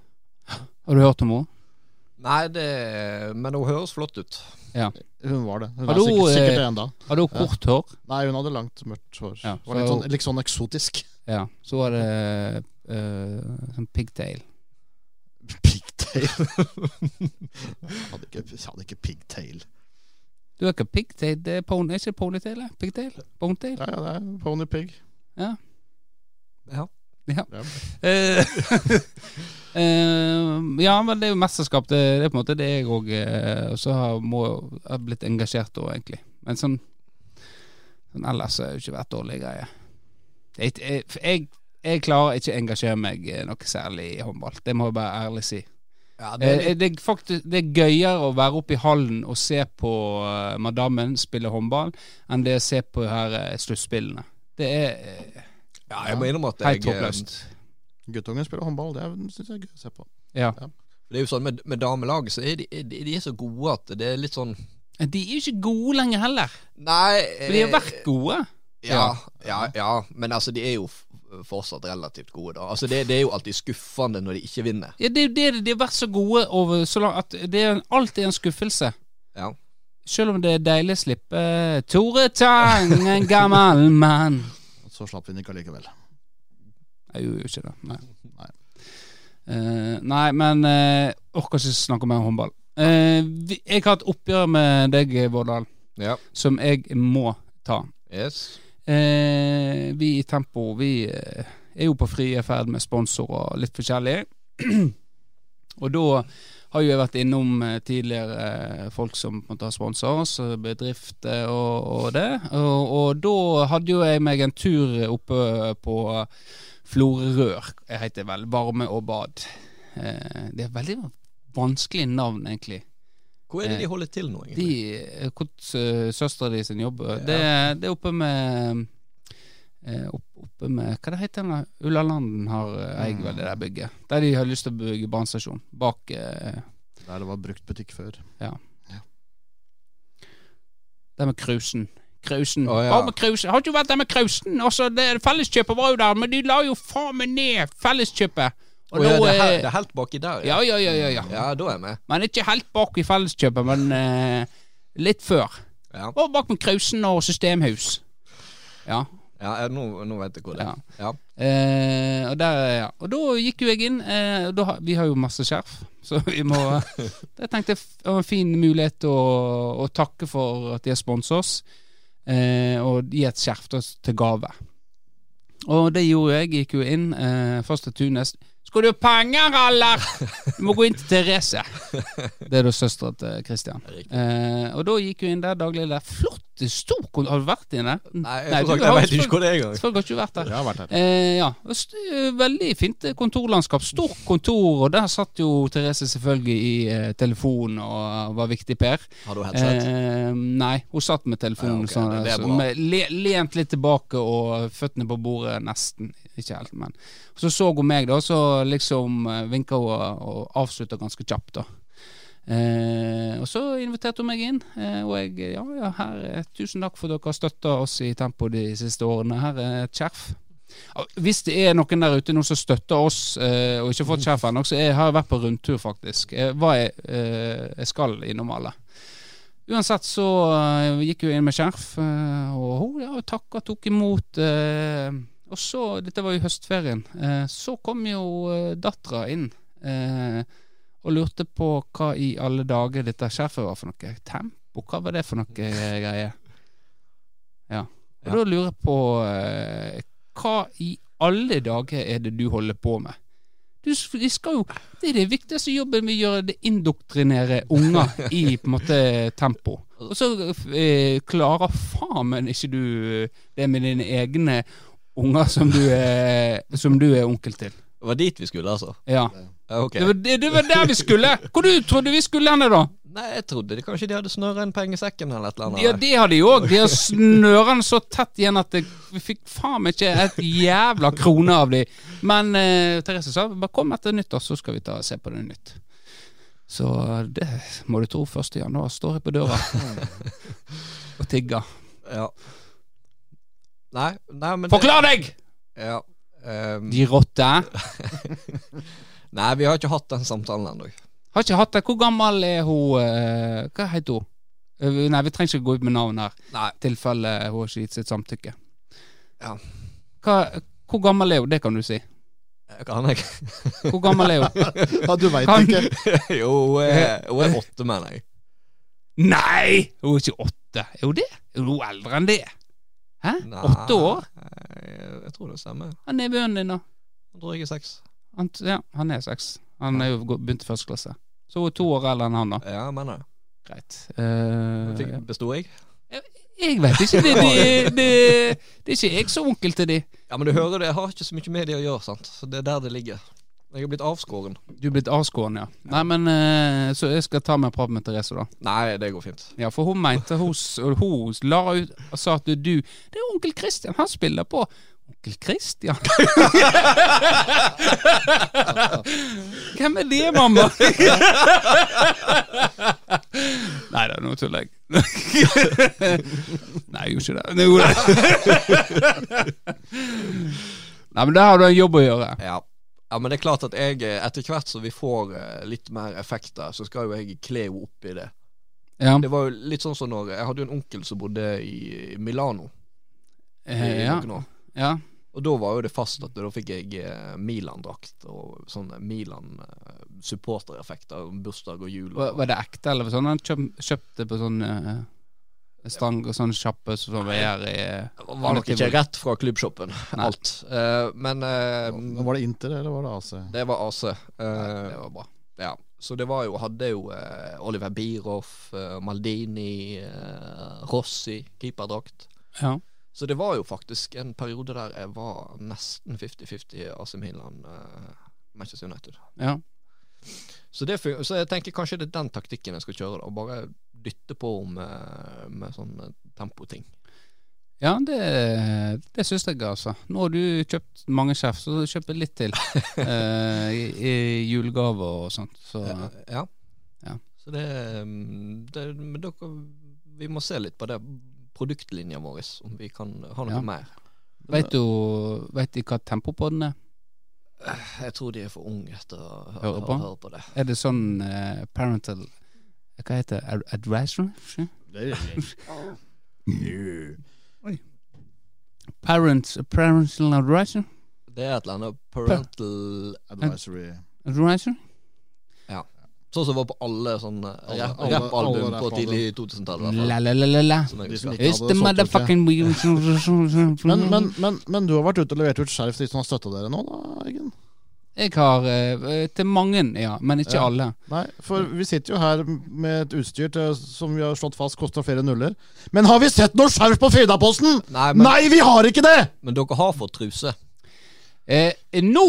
Speaker 1: Har du hørt om henne?
Speaker 2: Nei, det Men hun høres flott ut.
Speaker 3: Hun var det. Hun
Speaker 1: Har du,
Speaker 3: er sikkert, sikkert
Speaker 1: eh,
Speaker 3: det ennå.
Speaker 1: Har du kort hår?
Speaker 3: Nei, hun hadde langt, mørkt hår.
Speaker 1: Ja,
Speaker 3: var litt
Speaker 1: så-
Speaker 3: sånn, litt sånn eksotisk.
Speaker 1: Ja. Så var det eh, sånn pigtail.
Speaker 3: Pigtail. jeg hadde ikke, jeg hadde ikke pigtail.
Speaker 1: Du har ikke pigtail, det er pony, er ikke det ponytail? eh? Pigtail? Bonetail?
Speaker 3: Ja, ja, det er Pony Pig.
Speaker 2: Ja.
Speaker 1: Eh, eh, ja, men det er jo mesterskap. Det, det er på en måte det jeg òg eh, også har, må, har blitt engasjert òg, egentlig. Men sånn, sånn ellers er det jo ikke vært dårlige greier. Jeg, jeg, jeg, jeg klarer ikke å engasjere meg eh, noe særlig i håndball. Det må jeg bare ærlig si.
Speaker 2: ja det, er
Speaker 1: Eh,
Speaker 2: litt-
Speaker 1: Det er, faktisk, det er gøyere å være oppe i hallen og se på eh, madammen spille håndball, enn det å se på her eh, sluttspillene. Det er eh,
Speaker 2: ja, jeg må innrømme at jeg eh,
Speaker 1: helt toppløst.
Speaker 3: Guttungen spiller håndball, det syns jeg er gøy å se på.
Speaker 1: Ja.
Speaker 2: Det er jo sånn med, med damelag, så er de, er de, de er så gode at det er litt sånn
Speaker 1: De er jo ikke gode lenger heller.
Speaker 2: Nei
Speaker 1: For de har
Speaker 2: Eh,
Speaker 1: vært gode.
Speaker 2: Ja, ja, ja, men altså de er jo f- fortsatt relativt gode, da. Altså det, det er jo alltid skuffende når de ikke vinner.
Speaker 1: Ja, det er jo det de- de har vært så gode over så langt at det er en- alltid en skuffelse.
Speaker 2: Ja.
Speaker 1: Selv om det er deilig å slippe eh, Tore Tang, en gammel mann.
Speaker 3: Så slapp vi den ikke allikevel.
Speaker 1: Jeg gjorde jo ikke det. Nei.
Speaker 3: Nei.
Speaker 1: Eh, nei, men uh, orker ikke snakke mer om håndball. Eh, vi, jeg har et oppgjør med deg, Vårdal,
Speaker 2: Ja.
Speaker 1: som jeg må ta.
Speaker 2: Yes.
Speaker 1: Eh, vi i Tempo Vi eh, er jo på fri ferd med sponsorer og litt forskjellig. og da har jo jeg vært innom eh, tidligere eh, folk som på en måte har sponset oss, eh, bedrifter og, og det. Og, og da hadde jo jeg meg en tur oppe på Florørør, jeg heter vel Varme og bad. Eh, det er veldig vanskelig navn, egentlig.
Speaker 2: Hvor er det Eh, de holder til nå, egentlig?
Speaker 1: De, eh, hvor eh, søstera di sin jobb eh, det, det er oppe med eh, opp, Oppe med Hva det heter det? Ullalanden har eh, eier vel det der bygget. Der de har lyst til å bygge brannstasjon. Bak eh,
Speaker 3: Der det var brukt butikk før.
Speaker 1: der med Krausen. Krausen.
Speaker 2: Å, ja.
Speaker 1: Hva med Krausen? Har du vært der med Krausen? Altså, det, felleskjøpet var jo der, men de la jo faen meg ned felleskjøpet. Og
Speaker 2: Å, ja,
Speaker 1: nå
Speaker 2: det, er, he-
Speaker 1: er-
Speaker 2: det er helt baki der,
Speaker 1: ja, ja, ja, ja, ja.
Speaker 2: Ja, da er jeg med.
Speaker 1: Man er ikke helt bak i felleskjøpet, men eh, litt før.
Speaker 2: Ja.
Speaker 1: Og bak med Krausen og Systemhus. Ja.
Speaker 2: Ja, jeg, nå, nå vet jeg hvor det
Speaker 1: Ja.
Speaker 2: er. Ja.
Speaker 1: Eh, og, der, ja. og da gikk jo jeg inn. Eh, og da, har- vi har jo masse skjerf, så vi må Jeg tenkte jeg f- det var en fin mulighet til å, å takke for at de har sponset oss, eh, og gi et skjerf til oss til gave. Og det gjorde jeg. Gikk jo inn. Eh, først til Tunes. Skal du ha penger, eller? Du må gå inn til Therese. Det er da søstera til Christian.
Speaker 2: Riktig.
Speaker 1: Eh, og da gikk jo inn der daglig. Der. Flott, stor kon- Har du vært inne?
Speaker 2: Nei, jeg,
Speaker 1: Nei,
Speaker 2: får
Speaker 1: du har
Speaker 2: sagt, jeg vet
Speaker 1: selvfølgelig-
Speaker 2: ikke hvor det er engang.
Speaker 1: Selvfølgelig har ikke du vært der.
Speaker 3: Jeg har vært her.
Speaker 1: Eh, ja. Og st- eh, Veldig fint eh, kontorlandskap. Stort kontor, og der satt jo Therese selvfølgelig i eh, telefonen og eh, var viktig Per.
Speaker 2: Har du headset?
Speaker 1: Eh, nei, hun satt med telefonen
Speaker 2: Ja, Ah, ok,
Speaker 1: sånn,
Speaker 2: det er
Speaker 1: så
Speaker 2: bra.
Speaker 1: med, le, lent litt tilbake og føttene på bordet, nesten. Ikke helt, men. Så så hun meg, da, så liksom eh, vinka hun og avslutta ganske kjapt, da. Eh, og så inviterte hun meg inn, eh, og jeg ja, ja, her, eh, tusen takk for at dere har støtta oss i Tempo de siste årene. Her er et skjerf. Ja, Hvis det er noen der ute nå som støtter oss eh, og ikke har fått skjerf ennå, så jeg har jeg vært på rundtur, faktisk. Jeg, var, jeg, eh, jeg skal innom alle. Uansett så eh, gikk hun inn med skjerf, eh, og hun ja, takka, tok imot. eh, og så, dette var jo høstferien, eh, så kom jo uh, dattera inn eh, og lurte på hva i alle dager dette skjerfet var for noe. Tempo, hva var det for noe eh, greie? Ja. Og
Speaker 2: Ja.
Speaker 1: da lurer jeg på eh, hva i alle dager er det du holder på med? Du, s- vi skal jo, det er det viktigste jobben vi gjør, det indoktrinere unger i på en måte tempo. Og så eh, klarer faen men ikke du eh, det med dine egne unger som du er, som du er onkel til.
Speaker 2: Det var dit vi skulle, altså.
Speaker 1: Ja.
Speaker 2: Ja, Ok.
Speaker 1: Det, var, det, det var der vi skulle! Hvor du trodde vi skulle hen, da?
Speaker 2: Nei, jeg trodde de, kanskje de hadde snørra en penge i sekken eller et eller annet.
Speaker 1: Ja, det har de òg. De har snørene så tett igjen at jeg vi fikk faen meg ikke et jævla krone av de. Men eh, Therese sa bare kom etter nyttår, så skal vi ta og se på det nytt. Så eh, det må du tro, 1. januar står jeg på døra og tigger.
Speaker 2: Ja. Nei, nei, men det-
Speaker 1: Forklar deg!
Speaker 2: Ja. ehm,
Speaker 1: De rotte.
Speaker 2: nei, vi har ikke hatt den samtalen ennå.
Speaker 1: Har ikke hatt det. Hvor gammel er hun eh, Hva heter hun? Eh, Nei, vi trenger ikke gå ut med navn her,
Speaker 2: Nei.
Speaker 1: i tilfelle hun har ikke gitt sitt samtykke.
Speaker 2: Ja.
Speaker 1: Hva, hvor gammel er hun? Det kan du si.
Speaker 2: Jeg Kan jeg?
Speaker 1: Hvor gammel er hun?
Speaker 3: Ja, du veit
Speaker 1: Kan-
Speaker 2: eh,
Speaker 3: ikke.
Speaker 2: jo, hun er, hun er åtte, mener jeg.
Speaker 1: Nei! Hun er ikke åtte. Er hun det? Er hun eldre enn det? Hæ?
Speaker 2: Nei, eh,
Speaker 1: Åtte år?
Speaker 2: Jeg, jeg tror det stemmer.
Speaker 1: Han er bønnen din, da.
Speaker 2: Jeg tror jeg er seks.
Speaker 1: Han, ja, han er seks. Han er jo gå- begynt i første klasse. Så hun er to år eldre enn han, da.
Speaker 2: Ja, jeg mener det.
Speaker 1: Greit.
Speaker 2: Men
Speaker 1: Eh,
Speaker 2: Fikk, besto jeg?
Speaker 1: jeg vet ikke. Det, det, det, det er ikke jeg som onkel til de.
Speaker 2: Ja, men du hører det, jeg har ikke så mye med det å gjøre, sant. Så det er der det ligger. Jeg har blitt avskåren.
Speaker 1: Du er blitt avskåren, ja. Nei, men eh, Så jeg skal ta meg en prat med Therese, da.
Speaker 2: Nei, det går fint.
Speaker 1: Ja, For hun mente hun, s- og hun la ut og sa at du Det er onkel Christian, han spiller på Onkel Christian? Hvem er det, mamma? Nei da, nå tuller jeg. Nei, jeg gjorde ikke det. Nå gjorde jeg Nei, men der har du en jobb å gjøre.
Speaker 2: Ja. ja, men det er klart at jeg, eh, etter hvert som vi får eh, litt mer effekter, så skal jo jeg kle henne opp i det.
Speaker 1: Ja.
Speaker 2: Det var jo litt sånn som når Jeg hadde jo en onkel som bodde i Milano. I,
Speaker 1: Eh, ja.
Speaker 2: noen år.
Speaker 1: ja.
Speaker 2: Og da var jo det fast at da fikk jeg eh, Milan-drakt og sånne Milan-supportereffekter. Bursdag og jul.
Speaker 1: Var,
Speaker 2: Og,
Speaker 1: var det ekte, eller sånn? Han kjøp, kjøpte på sånn eh, stang og sånn kjappe som sånn er i
Speaker 2: Det var nok ikke rett fra klubbshoppen,
Speaker 1: Nei.
Speaker 2: alt. Eh, men eh,
Speaker 3: Men Var det Inter, eller var det AC?
Speaker 2: det var AC. Eh,
Speaker 1: Det var bra.
Speaker 2: ja. Så det var jo Hadde jo eh, Oliver Bierhoff, eh, Maldini, eh, Rossi, keeperdrakt.
Speaker 1: Ja.
Speaker 2: Så det var jo faktisk en periode der jeg var nesten 50-50 AC Milan, eh, Manchester United.
Speaker 1: ja.
Speaker 2: Så, det, fun- så jeg tenker kanskje det er den taktikken jeg skal kjøre, da. Bare dytte på med, med sånne tempoting.
Speaker 1: Ja, det, det syns jeg, altså. Nå har du kjøpt mange skjerf, så kjøp litt til. eh, i, I julegave og sånt. Så
Speaker 2: Ja. ja.
Speaker 1: Ja.
Speaker 2: Så det, mm, det Men dere Vi må se litt på det produktlinja vår, om vi kan ha noe
Speaker 1: Ja.
Speaker 2: mer.
Speaker 1: veit du Vet de hva tempopodden er?
Speaker 2: Jeg tror de er for unge til å hø-
Speaker 1: Hører
Speaker 2: å
Speaker 1: på?
Speaker 2: høre på det.
Speaker 1: Er det sånn eh, parental Hva heter det? Ad- Advisory? Parents, parental advisory?
Speaker 2: Det er et eller annet parental
Speaker 3: Advisory.
Speaker 1: advisory?
Speaker 2: Sånn som var på alle sånne
Speaker 3: Alle-
Speaker 2: rapp-
Speaker 3: alle- alle
Speaker 2: rappalbum på
Speaker 3: rappalbum.
Speaker 2: tidlig 2000-tallet. i hvert fall,
Speaker 1: La, la, la, la, la.
Speaker 2: som jeg
Speaker 3: De som
Speaker 2: husker.
Speaker 1: It's
Speaker 3: ikke hadde
Speaker 1: the
Speaker 3: solgt ut det.
Speaker 1: motherfucking
Speaker 3: Men, men, men, men du har vært ute og levert ut skjerf til de som har støtta dere nå, da, Eggen?
Speaker 1: Jeg har eh, til mange, ja, men ikke
Speaker 3: Ja.
Speaker 1: alle.
Speaker 3: Nei, for vi sitter jo her med et utstyr til, som vi har slått fast koster flere nuller. Men har vi sett noe skjerf på Fridaposten?!
Speaker 2: Nei, men,
Speaker 3: Nei, vi har ikke det!
Speaker 2: men dere har fått truse.
Speaker 1: Eh, nå,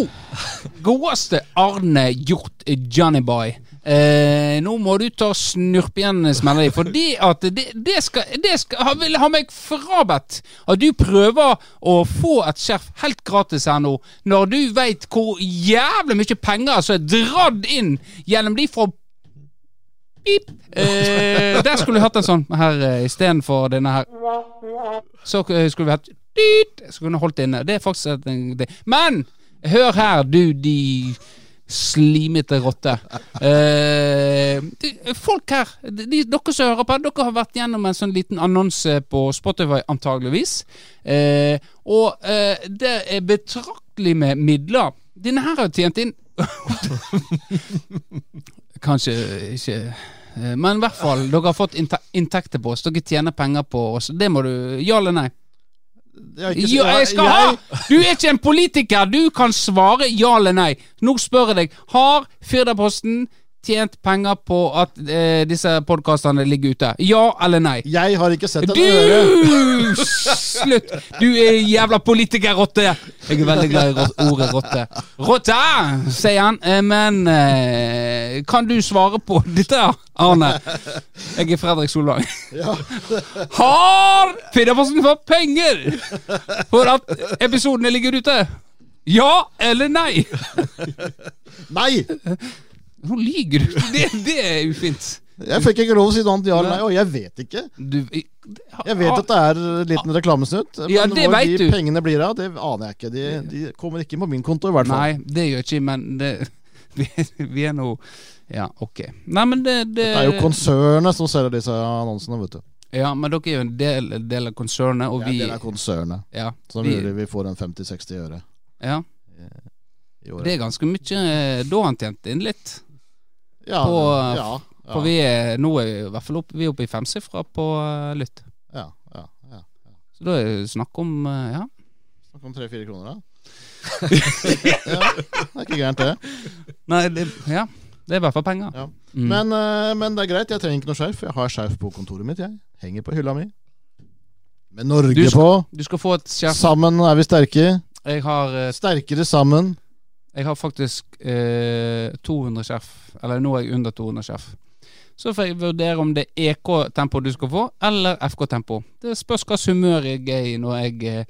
Speaker 1: godeste Arne Hjort Johnny Boy, eh, nå må du ta og snurpe igjen smella di, fordi at det, det skal, det skal ha, vil ha meg frabedt at du prøver å få et skjerf helt gratis her nå, når du veit hvor jævlig mye penger som er dratt inn gjennom de fra Pip. Eh, der skulle vi hatt en sånn her eh, istedenfor denne her. Så eh, skulle vi hatt dyt, så kunne vi holdt det inne. Det er faktisk et, en- det. Men hør her, du de slimete rotter. Eh, de- folk her, de, de, dere som hører på, dere har vært gjennom en sånn liten annonse på Spotify, antageligvis. Eh, og eh, det er betraktelig med midler. Denne her har jo tjent inn Kanskje ikke eh, Men i hvert fall, dere har fått innte- inntekter på oss. Dere tjener penger på oss. Det må du Ja eller nei?
Speaker 3: Jeg, har ikke-
Speaker 1: Ja, jeg skal ha! Du er ikke en politiker! Du kan svare ja eller nei. Nå spør jeg deg. Har Firdaposten tjent penger på at eh, disse podkastene ligger ute? Ja eller nei?
Speaker 3: Jeg har ikke sett en øre.
Speaker 1: Du! Slutt! Du er jævla politikerrotte! Jeg er veldig glad i rot- ordet rotte. Rotte, sier han. Eh, Men eh, kan du svare på dette, Arne? Jeg er Fredrik Solvang.
Speaker 3: Ja.
Speaker 1: Har Firdaposten fått penger for at episodene ligger ute? Ja eller nei?
Speaker 3: Nei!
Speaker 1: Nå lyver du. Det, det er ufint.
Speaker 3: Jeg fikk ikke lov å si noe annet ja eller nei, og jeg vet ikke.
Speaker 1: Du,
Speaker 3: Jeg vet at det er en liten reklamesnutt, men
Speaker 1: Ja, det
Speaker 3: hvor
Speaker 1: vet
Speaker 3: de
Speaker 1: du.
Speaker 3: pengene blir av, det aner jeg ikke. De, de kommer ikke på min konto, i hvert fall.
Speaker 1: Nei, det gjør ikke men det, vi, vi er nå Ja, ok. Nei, men det, det
Speaker 3: Det er jo konsernet som selger disse annonsene, vet du.
Speaker 1: Ja, men dere er jo en del, del av konsernet, og
Speaker 3: Ja,
Speaker 1: vi
Speaker 3: det er konsernet
Speaker 1: ja,
Speaker 3: som
Speaker 1: vi-
Speaker 3: gjør at vi får en 50-60 øre
Speaker 1: ja,
Speaker 3: i
Speaker 1: det
Speaker 3: året.
Speaker 1: er ganske mye eh, Da har han tjent inn litt.
Speaker 3: Ja,
Speaker 1: på-
Speaker 3: ja.
Speaker 1: For vi er nå er vi i hvert fall opp, vi er oppe i femsifra på eh, lytt.
Speaker 3: Ja, ja, ja.
Speaker 1: Så da er det snakk om eh, ja.
Speaker 3: Snakk om tre-fire kroner, da. ja, det er ikke gærent, det.
Speaker 1: Nei, det, ja. Det er i hvert fall penger.
Speaker 3: Ja.
Speaker 1: Mm.
Speaker 3: Men, eh, men det er greit, jeg trenger ikke noe skjerf. Jeg har skjerf på kontoret mitt, jeg. Henger på hylla mi. Med Norge
Speaker 1: Du
Speaker 3: på.
Speaker 1: du skal få et skjerf.
Speaker 3: Sammen er vi sterke.
Speaker 1: Jeg har, eh,
Speaker 3: Sterkere sammen.
Speaker 1: jeg har faktisk eh, 200 skjerf. Eller nå er jeg under 200 skjerf. Så får jeg vurdere om det er EK-tempo du skal få, eller FK-tempo. Det spørs hva slags humør jeg er i når jeg eh,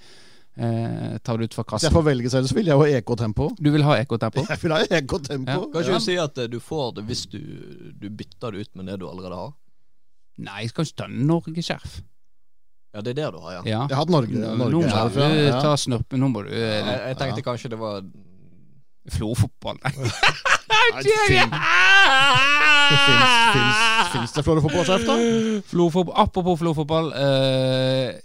Speaker 1: eh, tar det ut fra
Speaker 3: Hvis jeg
Speaker 1: kassen.
Speaker 3: får velge selv, så vil jeg ha EK-tempo.
Speaker 1: Du vil ha E EK-tempo?
Speaker 3: Jeg vil ha E EK-tempo.
Speaker 1: Ja.
Speaker 2: Kan ikke du
Speaker 3: Ja.
Speaker 2: si at eh, du får det hvis du, du bytter det ut med det du allerede har?
Speaker 1: Nei, jeg skal ikke ta Norge-skjerf.
Speaker 2: Ja, det er det du har, ja.
Speaker 1: Ja.
Speaker 3: Jeg har hatt Norge.
Speaker 1: nå
Speaker 3: Norge
Speaker 1: må
Speaker 3: her,
Speaker 1: du
Speaker 3: fra.
Speaker 1: ta
Speaker 3: Ja.
Speaker 1: snurpen. Nå må du eh,
Speaker 2: Jeg, jeg tenkte kanskje det var
Speaker 1: Florfotball. Nei,
Speaker 3: Nei, fin- Fins- fins- Fins det florefotballskjerf, da?
Speaker 1: Florfotball. Apropos florfotball. eh,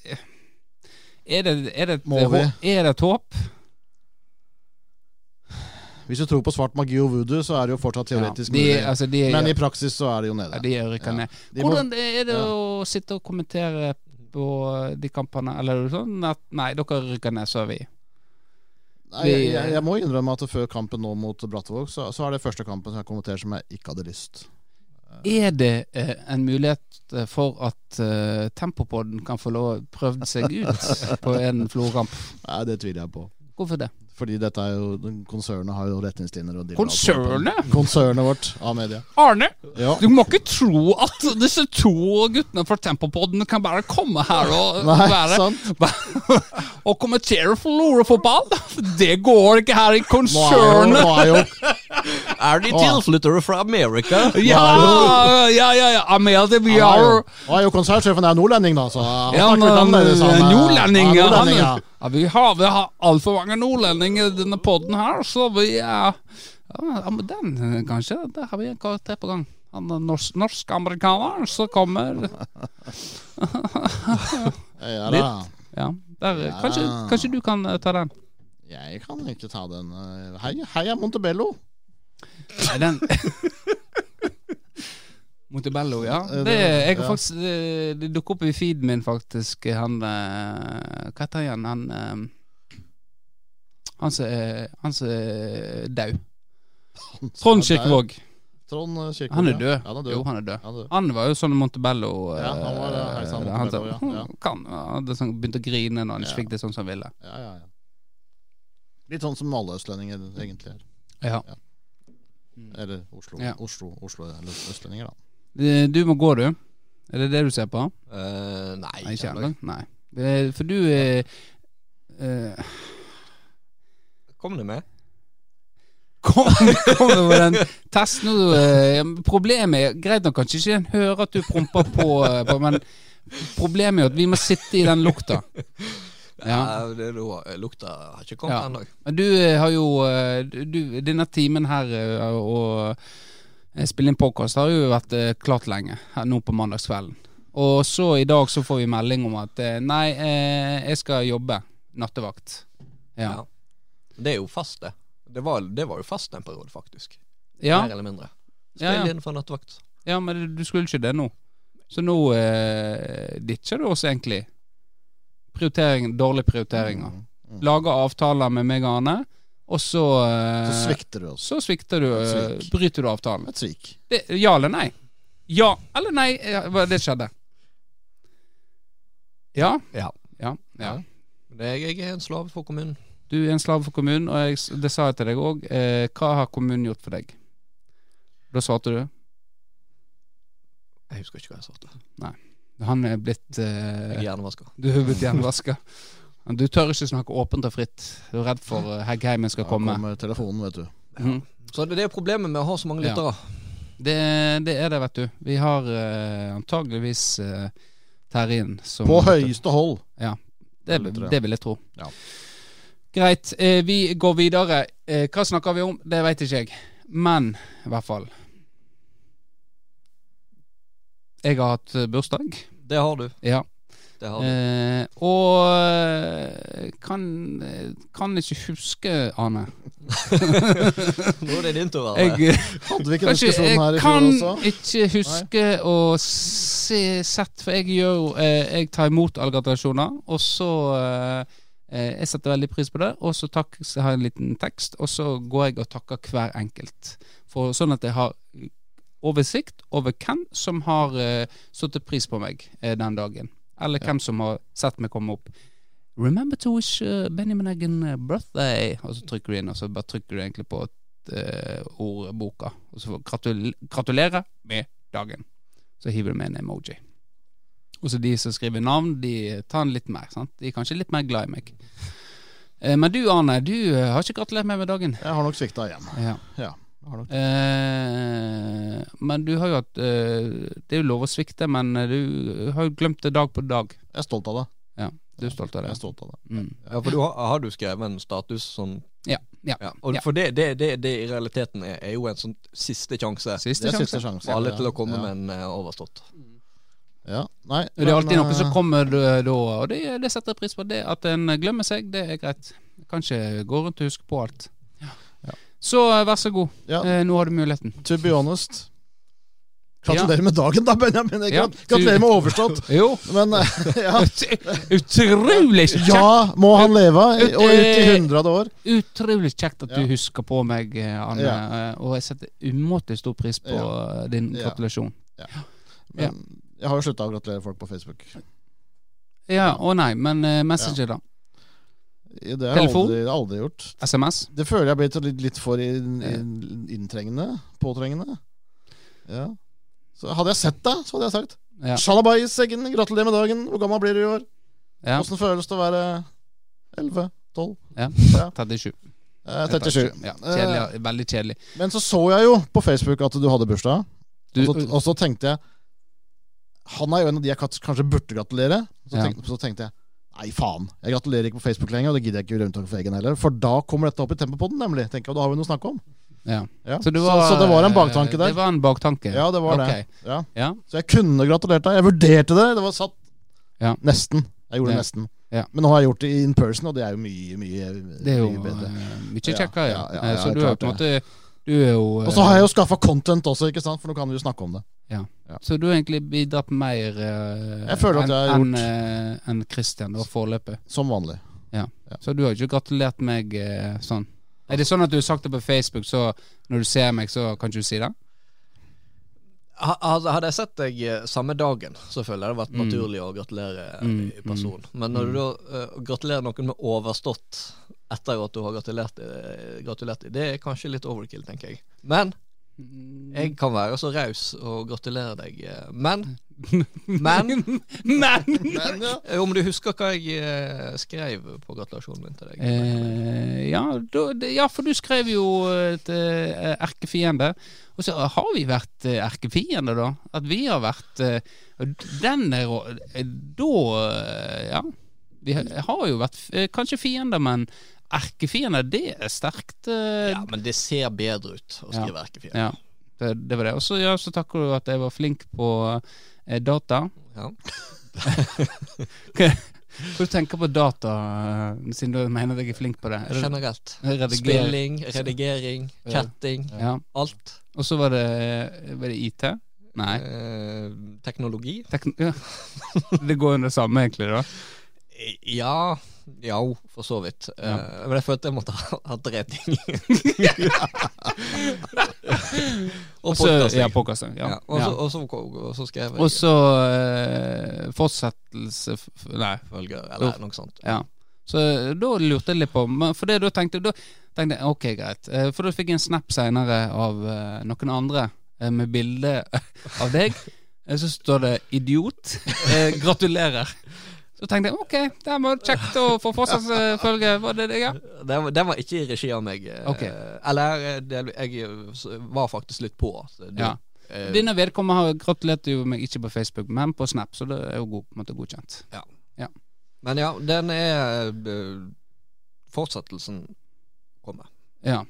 Speaker 1: er, det, er, det et,
Speaker 3: Må vi?
Speaker 1: er det et håp?
Speaker 3: Hvis du tror på svart magi og voodoo, så er det jo fortsatt teoretisk
Speaker 1: Ja, de,
Speaker 3: mulig.
Speaker 1: altså, de,
Speaker 3: Men i praksis så er det jo
Speaker 1: ja,
Speaker 3: nede.
Speaker 1: de er rykka
Speaker 3: Ja.
Speaker 1: ned.
Speaker 3: De må,
Speaker 1: Hvordan er det
Speaker 3: ja.
Speaker 1: å sitte og kommentere på de kampene? Eller er det sånn at nei, dere rykker ned, så er vi
Speaker 3: nei, jeg, jeg, jeg må innrømme at før kampen nå mot Brattevåg, så, så er det første kampen som jeg kommenterer som jeg ikke hadde lyst.
Speaker 1: Er det eh, en mulighet eh, for at eh, Tempopodden kan få lov å prøve seg ut på en Florø-kamp?
Speaker 3: Nei, det tviler jeg på.
Speaker 1: Hvorfor det?
Speaker 3: Fordi dette er jo konsernet har jo retningslinjer og de-
Speaker 1: Konsernet?
Speaker 3: Konsernet vårt av media.
Speaker 1: Arne,
Speaker 3: Ja.
Speaker 1: du må ikke tro at disse to guttene fra Tempopodden kan bare komme her og
Speaker 3: Nei,
Speaker 1: være
Speaker 3: sant?
Speaker 1: Og kommentere Florø-fotball! Det går ikke her i
Speaker 3: Nå er jo,
Speaker 1: konsernet!
Speaker 3: nå er jo
Speaker 2: Er de tilflyttere fra America?
Speaker 1: Ja, ja, ja, ja. Amelie, vi
Speaker 3: Han er jo,
Speaker 1: har
Speaker 3: han er jo konsernsjefen er nordlending, da, så han
Speaker 1: ja,
Speaker 3: snakker litt
Speaker 1: men,
Speaker 3: annerledes. han er-
Speaker 1: eh, Nordlending,
Speaker 3: Ja,
Speaker 1: ja. han
Speaker 3: nordlending, ja.
Speaker 1: er- ja, vi har, vi har altfor mange nordlendinger i denne podden her, så vi er Ja, men den, eh, kanskje. Der har vi en karakter på gang. Han er norsk- norsk-amerikaner som kommer
Speaker 3: Ja, da.
Speaker 1: Ja, der, eh, kanskje,
Speaker 3: Ja.
Speaker 1: kanskje du kan eh, ta den?
Speaker 3: Jeg kan ikke ta den. eh, Hei, heia Montebello.
Speaker 1: Nei, den Montebello, ja.
Speaker 3: Eh, det-
Speaker 1: Det, jeg har
Speaker 3: ja.
Speaker 1: faktisk, det, det dukker opp i feeden min, faktisk. Han eh, Hva heter han igjen? Han eh, Han som er- han som er daud. Trond Kirkevåg.
Speaker 3: Trond eh, Kirkevåg.
Speaker 1: Han er
Speaker 3: ja.
Speaker 1: død.
Speaker 3: Ja, han er død.
Speaker 1: Jo, han er død.
Speaker 3: Han er død.
Speaker 1: Han var jo sånn Montebello eh,
Speaker 3: Ja, han var det, hei sann,
Speaker 1: han
Speaker 3: Montebello,
Speaker 1: som-
Speaker 3: ja, ja.
Speaker 1: Kan, han hadde sånn, begynte å grine når han ikke
Speaker 3: Ja.
Speaker 1: fikk det sånn som han ville.
Speaker 3: Ja, ja, ja. Litt sånn som alle østlendinger egentlig er.
Speaker 1: Ja.
Speaker 3: Eller Oslo.
Speaker 1: Ja.
Speaker 3: Oslo, Oslo eller østlendinger, da.
Speaker 1: Eh, Du må gå, du. Er det det du ser på?
Speaker 2: Eh, nei,
Speaker 1: Nei, ikke
Speaker 2: ennå.
Speaker 1: ennå. Nei. Eh, For du eh, eh,
Speaker 2: Kom det med?
Speaker 1: Kom, kom med den testen nå, eh, Problemet er Greit nok kanskje ikke en hører at du promper på, eh, på, men problemet er jo at vi må sitte i den lukta. Ja.
Speaker 2: Nei, det lo- lukta har ikke kommet
Speaker 1: Ja.
Speaker 2: ennå.
Speaker 1: Men du eh, har jo eh, du, Denne timen her eh, og eh, spille inn podkast har jo vært eh, klart lenge, her nå på mandagskvelden. Og så i dag så får vi melding om at eh, nei, eh, jeg skal jobbe nattevakt. Ja.
Speaker 2: Ja. Det er jo fast, det. Det var, det var jo fast en periode, faktisk.
Speaker 1: Ja,
Speaker 2: Mer eller mindre.
Speaker 1: ja,
Speaker 2: Spill
Speaker 1: ja.
Speaker 2: inn for nattvakt.
Speaker 1: ja men du skulle ikke det nå. Så nå eh, ditcher du oss egentlig. Prioritering, Dårlige prioriteringer.
Speaker 3: Mm.
Speaker 1: Lager avtaler med meg og Arne, og så eh,
Speaker 3: Så svikter du oss.
Speaker 1: så svikter du. eh,
Speaker 3: Svik.
Speaker 1: bryter du avtalen.
Speaker 3: Et svik.
Speaker 1: Det, ja eller nei? Ja eller nei, eh, hva- det skjedde. Ja.
Speaker 2: Ja.
Speaker 1: ja, ja.
Speaker 2: Det, jeg, jeg er en slave for kommunen.
Speaker 1: Du er en slave for kommunen, og jeg, s- det sa jeg til deg òg. Eh, hva har kommunen gjort for deg? Da svarte du.
Speaker 2: Jeg husker ikke hva jeg svarte.
Speaker 1: Han er blitt
Speaker 2: Jeg
Speaker 1: eh,
Speaker 2: er hjernevasker.
Speaker 1: Du er blitt jernvaska. Du tør ikke snakke åpent og fritt. Du er redd for eh, Heggheimen skal
Speaker 3: Da
Speaker 1: komme.
Speaker 3: kommer telefonen, vet du.
Speaker 1: Mhm.
Speaker 2: Så det, det er problemet med å ha så mange
Speaker 1: Ja.
Speaker 2: lyttere.
Speaker 1: Det, det er det, vet du. Vi har eh, antageligvis eh, Terjen som
Speaker 3: På høyeste hold.
Speaker 1: Det,
Speaker 3: Eller tre.
Speaker 1: det vil jeg tro.
Speaker 3: Ja.
Speaker 1: Greit, eh, vi går videre. Eh, hva snakker vi om? Det veit ikke jeg. Men i hvert fall Jeg har hatt eh, bursdag.
Speaker 2: Det har du.
Speaker 1: Ja.
Speaker 2: Det har vi.
Speaker 1: Eh, og kan, eh, kan ikke huske, Ane.
Speaker 2: Nå er det din tur, Arne.
Speaker 1: Jeg,
Speaker 3: Hadde vi ikke den
Speaker 1: kanskje,
Speaker 3: diskusjonen sånn her
Speaker 1: jeg
Speaker 3: i fjor
Speaker 1: kan
Speaker 3: også?
Speaker 1: ikke huske å se sett, for jeg gjør jo eh, Jeg tar imot alle gratulasjoner, og så eh, eh, Jeg setter veldig pris på det, og så, takk, så har jeg en liten tekst, og så går jeg og takker hver enkelt. For, sånn at jeg har oversikt over hvem som har eh, satt pris på meg eh, den dagen. Eller hvem som har sett meg komme opp. Remember to wish eh, Benjamin Eggen eh, birthday. Og så trykker du inn, og så bare trykker du egentlig på eh, ordboka. Og så får gratul gratulerer med dagen. Så hiver du med en emoji. Og så de som skriver navn, de tar den litt mer. sant? De er kanskje litt mer glad i meg. Eh, men du Arne, du eh, har ikke gratulert meg med dagen.
Speaker 3: Jeg har nok svikta igjen.
Speaker 1: Ja.
Speaker 3: Ja. jeg Har nok.
Speaker 1: Eh, men du har jo hatt eh, Det er jo lov å svikte, men eh, du har jo glemt det dag på dag.
Speaker 3: Jeg er stolt av det.
Speaker 1: Du er stolt av
Speaker 3: Jeg
Speaker 1: det.
Speaker 3: er stolt av det.
Speaker 1: Mm.
Speaker 2: Ja, for du har, har du skrevet en status sånn
Speaker 1: Ja, ja,
Speaker 2: ja. Og
Speaker 1: ja.
Speaker 2: For det, det, det, det i realiteten er, er jo en sånn siste sjanse
Speaker 1: Siste
Speaker 3: Det er siste
Speaker 1: sjanse.
Speaker 3: sjanse.
Speaker 2: for alle til å komme
Speaker 3: ja.
Speaker 2: med en eh, overstått.
Speaker 3: Ja. Nei,
Speaker 1: Det er alltid
Speaker 3: men,
Speaker 1: noe som
Speaker 3: eh,
Speaker 1: kommer da, da, og det, det setter jeg pris på. Det At en glemmer seg, det er greit. Kan ikke gå rundt og huske på alt.
Speaker 3: Ja.
Speaker 1: Så eh, vær så god,
Speaker 3: Ja.
Speaker 1: eh, nå har du muligheten.
Speaker 3: To be honest. Gratulerer med dagen, da, Benjamin. Ikke
Speaker 1: Ja,
Speaker 3: sant? Gratulerer med overstått.
Speaker 1: Jo,
Speaker 3: Men eh, ja,
Speaker 1: utrolig kjekt!
Speaker 3: ja må han leve,
Speaker 1: ut-
Speaker 3: og ut i
Speaker 1: eh,
Speaker 3: hundrede år.
Speaker 1: Utrolig kjekt at
Speaker 3: Ja.
Speaker 1: du husker på meg, eh, Anne. eh, Og jeg setter umåtelig stor pris på eh, din
Speaker 3: Ja.
Speaker 1: gratulasjon.
Speaker 3: Men Jeg har jo slutta å gratulere folk på Facebook.
Speaker 1: Ja, å nei, men eh, Messenger, da?
Speaker 3: Det har jeg
Speaker 1: Telefon?
Speaker 3: aldri, aldri gjort.
Speaker 1: SMS?
Speaker 3: Det føler jeg har blitt litt, litt for inn, inn, inntrengende. Påtrengende. Ja. Så hadde jeg sett deg, så hadde jeg sagt
Speaker 1: Ja.
Speaker 3: Sjalabais, Eggen, gratulerer med dagen. Hvor gammel blir du i år?
Speaker 1: ja.
Speaker 3: Åssen føles det å være 11? 12?
Speaker 1: Ja.
Speaker 3: Ja.
Speaker 1: 37.
Speaker 3: Eh, 37.
Speaker 1: Ja, kjedelig, veldig kjedelig.
Speaker 3: Eh, men så så jeg jo på Facebook at du hadde bursdag,
Speaker 1: Du,
Speaker 3: og, så, og så tenkte jeg Han er jo en av de jeg kat- kanskje burde gratulere. Så,
Speaker 1: Ja.
Speaker 3: tenkte, så tenkte jeg Nei, faen. Jeg gratulerer ikke på Facebook lenger, og det gidder jeg ikke rundt om for egen heller. For da kommer dette opp i Tempopodden, nemlig. Tenker jeg, og da har vi noe å snakke om.
Speaker 1: ja.
Speaker 3: Ja.
Speaker 1: så,
Speaker 3: Så,
Speaker 1: du var, eh,
Speaker 3: så, det var en baktanke
Speaker 1: Det
Speaker 3: der.
Speaker 1: var en baktanke.
Speaker 3: Ja, det var
Speaker 1: Ok.
Speaker 3: det. Ja.
Speaker 1: Ja.
Speaker 3: Så jeg kunne gratulert deg. Jeg vurderte det. Det var satt
Speaker 1: Ja.
Speaker 3: nesten. Jeg gjorde
Speaker 1: Ja.
Speaker 3: det nesten.
Speaker 1: Ja.
Speaker 3: Men nå har jeg gjort det in person, og det er jo mye, mye,
Speaker 1: Det er jo
Speaker 3: mye bedre.
Speaker 1: eh, mye
Speaker 3: Ja,
Speaker 1: kjekkere, ja.
Speaker 3: ja, ja, ja,
Speaker 1: Eh, så
Speaker 3: ja,
Speaker 1: du er jo
Speaker 3: klart
Speaker 1: på en måte Du er jo eh,
Speaker 3: Og så har jeg jo skaffa content også, ikke sant? for nå kan vi jo snakke om det.
Speaker 1: Så du har egentlig bidratt mer eh,
Speaker 3: Jeg føler at
Speaker 1: enn
Speaker 3: jeg har gjort-
Speaker 1: enn, eh, enn Christian da, foreløpig.
Speaker 3: Som vanlig.
Speaker 1: Så du har ikke gratulert meg eh, sånn. Er det sånn at du har sagt det på Facebook, så når du ser meg, så kan ikke du si det?
Speaker 2: Ha- altså, Hadde jeg sett deg eh, samme dagen, så føler jeg det hadde vært
Speaker 1: Mm.
Speaker 2: naturlig å gratulere eh,
Speaker 1: Mm,
Speaker 2: i person. Men når du da eh, gratulerer noen med overstått etter at du har gratulert, eh, gratulert dem, det er kanskje litt overkill, tenker jeg. Men
Speaker 1: Mm.
Speaker 2: jeg kan være så raus og gratulere deg. eh, Men Men
Speaker 1: Men!
Speaker 3: Men, ja.
Speaker 2: eh, om du husker hva jeg eh, skrev på gratulasjonen min til deg?
Speaker 1: Eh, ja, da, det, ja, for du skrev jo et eh, erkefiende. Og så har vi vært eh, erkefiender, da. At vi har vært eh, Den er rå- eh, Da eh, Ja. Vi har, har jo vært eh, kanskje fiender, men erkefiender, det er sterkt. eh,
Speaker 2: Ja, men det ser bedre ut å
Speaker 1: Ja.
Speaker 2: skrive erkefiende.
Speaker 1: ja. Det, det var det. Og så ja, så takker du at jeg var flink på eh, data.
Speaker 2: Ja.
Speaker 1: Hva du tenker på data, eh, siden du mener jeg er flink på det? Er det
Speaker 2: Generelt.
Speaker 1: redigering?
Speaker 2: Spilling, redigering,
Speaker 1: Ja.
Speaker 2: chatting,
Speaker 1: Ja.
Speaker 2: alt.
Speaker 1: Og så var det, var det IT? Nei.
Speaker 2: Eh, teknologi.
Speaker 1: Tekn ja. Det går under samme, egentlig. da
Speaker 2: Ja Ja, for så vidt. Eh,
Speaker 1: Ja.
Speaker 2: men jeg følte jeg måtte ha, ha tre ting. og
Speaker 1: Også,
Speaker 2: podkasting.
Speaker 1: ja, podcasting. Ja.
Speaker 2: Ja, og så- og så og så skrev
Speaker 1: Og
Speaker 2: jeg
Speaker 1: så eh, fortsettelse f- Nei.
Speaker 2: følger, eller noe sånt.
Speaker 1: Ja. Så da lurte jeg litt på men For det da tenkte da tenkte jeg ok, greit. Eh, For da fikk jeg en snap seinere av eh, noen andre eh, med bilde av deg. Eh, Så står det 'idiot'. Eh, Gratulerer. Så tenkte jeg ok, det var kjekt å få fortsatt eh, følge. Var det det, ja?
Speaker 2: Den, var- den var ikke i regi av meg. eh,
Speaker 1: Ok.
Speaker 2: Eller eh, del, jeg eh, s- var faktisk litt på. at Du,
Speaker 1: Ja.
Speaker 2: eh,
Speaker 1: Denne vedkommende har gratulert jo meg ikke på Facebook, men på Snap, så det er jo god, på en måte godkjent.
Speaker 2: men ja, den er eh, Fortsettelsen kommer.
Speaker 1: Ja.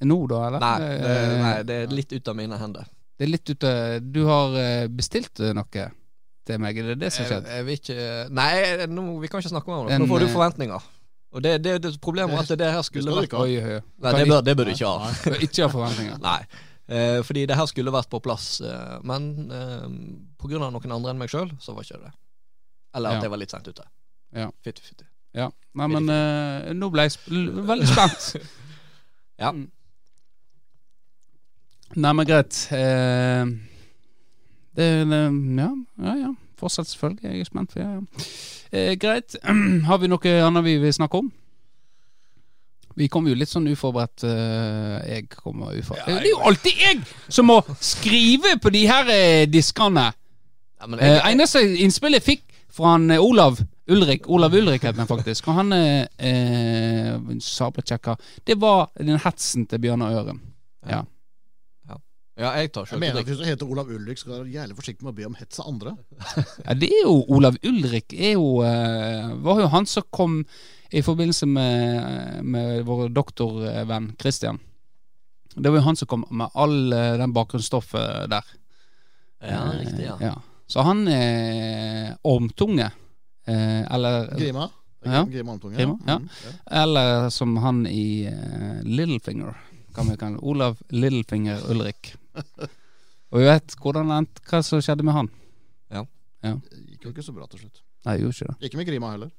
Speaker 1: Nå, da, eller?
Speaker 2: Nei, det,
Speaker 1: Eh,
Speaker 2: nei, det er litt ut av mine hender.
Speaker 1: Det er litt ute Du har eh, bestilt eh, noe? til meg? Er det det som
Speaker 2: Jeg,
Speaker 1: skjedde?
Speaker 2: jeg vil ikke Nei, nå, vi kan ikke snakke om det.
Speaker 1: En,
Speaker 2: Nå får du
Speaker 1: eh,
Speaker 2: forventninger. Og det, det, det problemet var at det her skulle
Speaker 3: skal du
Speaker 2: vært
Speaker 3: ikke
Speaker 1: Oi, oi, oi.
Speaker 2: Nei, det bør, det bør du ikke ha.
Speaker 1: Bør ikke ha forventninger.
Speaker 2: Nei. Eh, fordi det her skulle vært på plass, eh, men eh, pga. noen andre enn meg sjøl, så var ikke det det. Eller at
Speaker 1: Ja.
Speaker 2: jeg var litt sent ute.
Speaker 1: Ja.
Speaker 2: Fytti, fytti.
Speaker 1: Ja. Nei, men eh, nå ble jeg sp l- veldig spent.
Speaker 2: Ja.
Speaker 1: Mm. Nei, men greit. Eh, det, det Ja, ja. ja. Fortsett, selvfølgelig. Jeg er spent. for- Ja, ja. Eh, greit. Har vi noe annet vi vil snakke om? Vi kom jo litt sånn uforberedt. eh, jeg kommer uforberedt.
Speaker 2: Ja, jeg-
Speaker 1: det er jo alltid jeg som må skrive på de her eh, diskene!
Speaker 2: Ja, men jeg,
Speaker 1: Eh, eneste innspillet jeg fikk fra han, eh, Olav Ulrik, Olav Ulrik het han faktisk, og han eh, eh, sabeltsjekka, det var den hetsen til Bjørnar Øren. Ja.
Speaker 2: ja, jeg tar
Speaker 3: Jeg
Speaker 2: sjøl
Speaker 3: mener at hvis du heter Olav Ulrik, skal du være jævlig forsiktig med å be om hets av andre.
Speaker 1: ja, det er jo Olav Ulrik er jo, eh, var jo han som kom i forbindelse med, med vår doktorvenn Christian. Det var jo han som kom med all eh, den bakgrunnsstoffet der.
Speaker 2: Ja, riktig, ja.
Speaker 1: Eh, Så han er ormtunge. Eh, eller
Speaker 3: Grima.
Speaker 1: Ja.
Speaker 3: Grima Almtunge.
Speaker 1: Grima, ja.
Speaker 3: Mm, ja.
Speaker 1: Eller som han i eh, Littlefinger, kan vi kalle Olav Littlefinger Ulrik. Og vi vet hvordan det endte, hva som skjedde med han.
Speaker 3: Det gikk jo ikke så bra til slutt.
Speaker 1: Nei, gjorde ikke det.
Speaker 3: Ikke med Grima heller.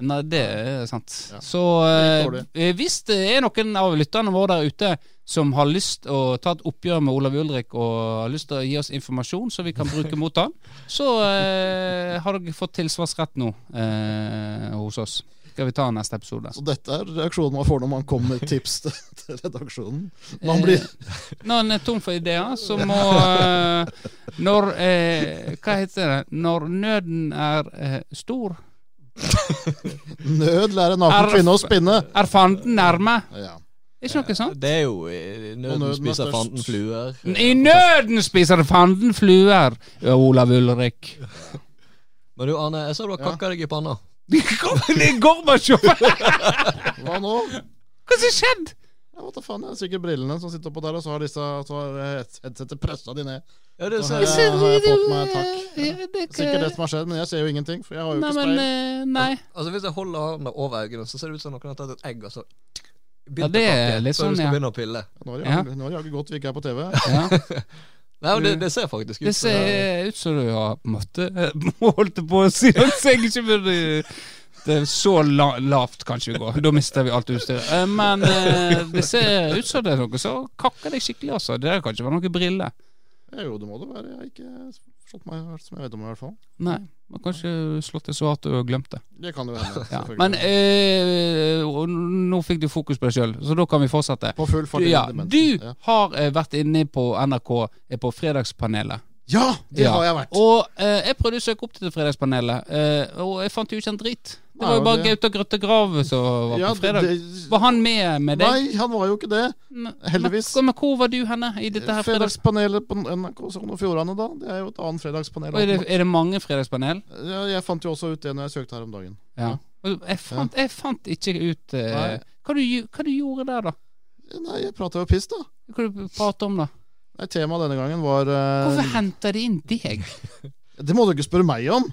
Speaker 1: Nei, det er sant.
Speaker 3: Ja.
Speaker 1: Så
Speaker 3: Det er litt
Speaker 1: eh, hvis det er noen av lytterne våre der ute som har lyst å ta et oppgjør med Olav Ulrik og har lyst til å gi oss informasjon som vi kan bruke mot han, så eh, har dere fått tilsvarsrett nå eh, hos oss. Skal vi ta neste episode?
Speaker 3: Så dette er reaksjonen man får når man kommer med tips til, til redaksjonen.
Speaker 1: Eh.
Speaker 3: Man blir
Speaker 1: Når en er tom for ideer, så må eh, Når eh, Hva heter det? Når nøden er eh, stor,
Speaker 3: nød lære naken
Speaker 1: Er-
Speaker 3: kvinne å spinne.
Speaker 1: er fanden nærme.
Speaker 3: Ja.
Speaker 1: Er ikke noe sånt?
Speaker 2: Det er jo eh,
Speaker 3: Og
Speaker 2: Nøden
Speaker 3: nøden er
Speaker 2: spiser
Speaker 3: størst.
Speaker 2: fanden fluer.
Speaker 1: I nøden spiser fanden fluer, Olav Ulrik.
Speaker 2: Men du, Arne, jeg ser du har kakka deg i panna.
Speaker 1: Gorbatsjov!
Speaker 3: Hva nå?
Speaker 1: Hva som skjedde?
Speaker 3: Ja, hva da faen, det er sikkert brillene som sitter oppå der, og så har disse så har head- headsetet pressa de ned.
Speaker 2: Ja, det
Speaker 3: Så
Speaker 2: ser
Speaker 3: her
Speaker 2: jeg.
Speaker 3: er- har jeg fått meg takk.
Speaker 1: Ja, det er
Speaker 3: Sikkert det
Speaker 1: ikke-
Speaker 3: som har skjedd, men jeg ser jo ingenting, for jeg har jo
Speaker 1: Nei,
Speaker 3: ikke
Speaker 1: men
Speaker 3: speil.
Speaker 1: eh, Nei.
Speaker 2: Altså, hvis jeg holder hånda over øynene, så ser det ut som noen har tatt et egg og så
Speaker 1: Ja, det er litt
Speaker 2: Så
Speaker 1: sånn,
Speaker 2: du skal
Speaker 1: ja.
Speaker 2: begynne å pille.
Speaker 3: Nå har jeg,
Speaker 1: Ja.
Speaker 3: nå har jeg ikke gått, vi ikke er på TV.
Speaker 1: Ja.
Speaker 2: Nei, men det, det ser faktisk ut
Speaker 1: Det
Speaker 2: som det.
Speaker 1: ser ut som du har på en måte holdt på å si at jeg ikke burde Det er så la, lavt kan ikke gå. Da mister vi alt utstyret. Eh, Men eh, det ser ut som det er noe som kakker deg skikkelig, altså. Det der kan ikke være noen briller.
Speaker 3: Ja, jo, det må det være. Jeg har ikke slått meg hardt som jeg vet om, i hvert fall.
Speaker 1: Nei. Man kan ikke slått det så hardt og glemt det.
Speaker 3: Det kan jo hende.
Speaker 1: Ja.
Speaker 3: selvfølgelig.
Speaker 1: Men eh, og nå fikk du fokus på deg sjøl, så da kan vi fortsette.
Speaker 3: på full
Speaker 1: Du,
Speaker 3: fart inn i
Speaker 1: ja,
Speaker 3: demensen.
Speaker 1: du
Speaker 3: ja.
Speaker 1: har eh, vært inne på NRK, er på Fredagspanelet.
Speaker 3: ja, det
Speaker 1: Ja.
Speaker 3: har jeg vært.
Speaker 1: Og eh, jeg prøvde å søke opp til Fredagspanelet, eh, og jeg fant jo ikke en drit. Det
Speaker 3: Nei,
Speaker 1: var jo
Speaker 3: og
Speaker 1: bare
Speaker 3: det-
Speaker 1: Gaute Grøtte Grav som var
Speaker 3: Ja,
Speaker 1: på fredag.
Speaker 3: det-
Speaker 1: Var han med med deg?
Speaker 3: Nei, han var jo ikke det.
Speaker 1: Nei,
Speaker 3: heldigvis.
Speaker 1: Men, men hvor var du henne i dette her fredags...
Speaker 3: Fredagspanelet på NRK Sogn og Fjordane, da. Det er jo et annet fredagspanel.
Speaker 1: Og Er det, er det mange fredagspanel?
Speaker 3: Ja, jeg fant jo også ut det når jeg søkte her om dagen.
Speaker 1: Ja. Og Jeg fant, jeg fant ikke ut eh,
Speaker 3: Nei.
Speaker 1: hva, du, gj- hva du gjorde der, da?
Speaker 3: Nei, jeg prata jo piss, da.
Speaker 1: Hva du pratet om, da?
Speaker 3: Nei, Temaet denne gangen var eh,
Speaker 1: Hvorfor henter de inn deg?
Speaker 3: Det må du ikke spørre meg om!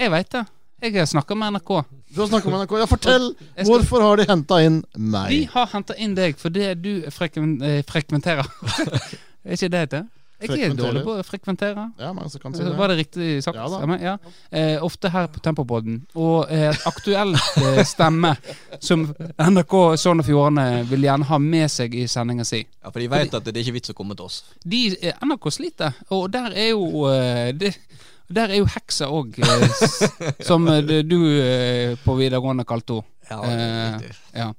Speaker 1: Jeg veit det. Jeg har snakka med NRK.
Speaker 3: Du har snakka med NRK. Ja, fortell!
Speaker 1: Jeg skal-
Speaker 3: Hvorfor har de henta inn meg?
Speaker 1: De har henta inn deg fordi du frekven, eh, frekventerer. er ikke det det heter? Jeg er
Speaker 3: Frekventerer.
Speaker 1: dårlig på å frekventere.
Speaker 3: Ja, men så kan si det.
Speaker 1: Var det riktig sagt?
Speaker 3: Ja da.
Speaker 1: Stemmer? Ja. Eh, ofte her på Tempopodden. Og eh, et aktuelt eh, stemme som NRK Sogn og Fjordane vil gjerne ha med seg i sendinga si.
Speaker 2: Ja, for de veit at det er ikke vits å komme til oss.
Speaker 1: De, eh, NRK sliter, og der er jo eh, det, der er jo heksa òg, eh, s- som eh, det du eh, på videregående kalte henne.
Speaker 2: Ja, det er
Speaker 1: Eh,
Speaker 2: riktig.
Speaker 1: ja.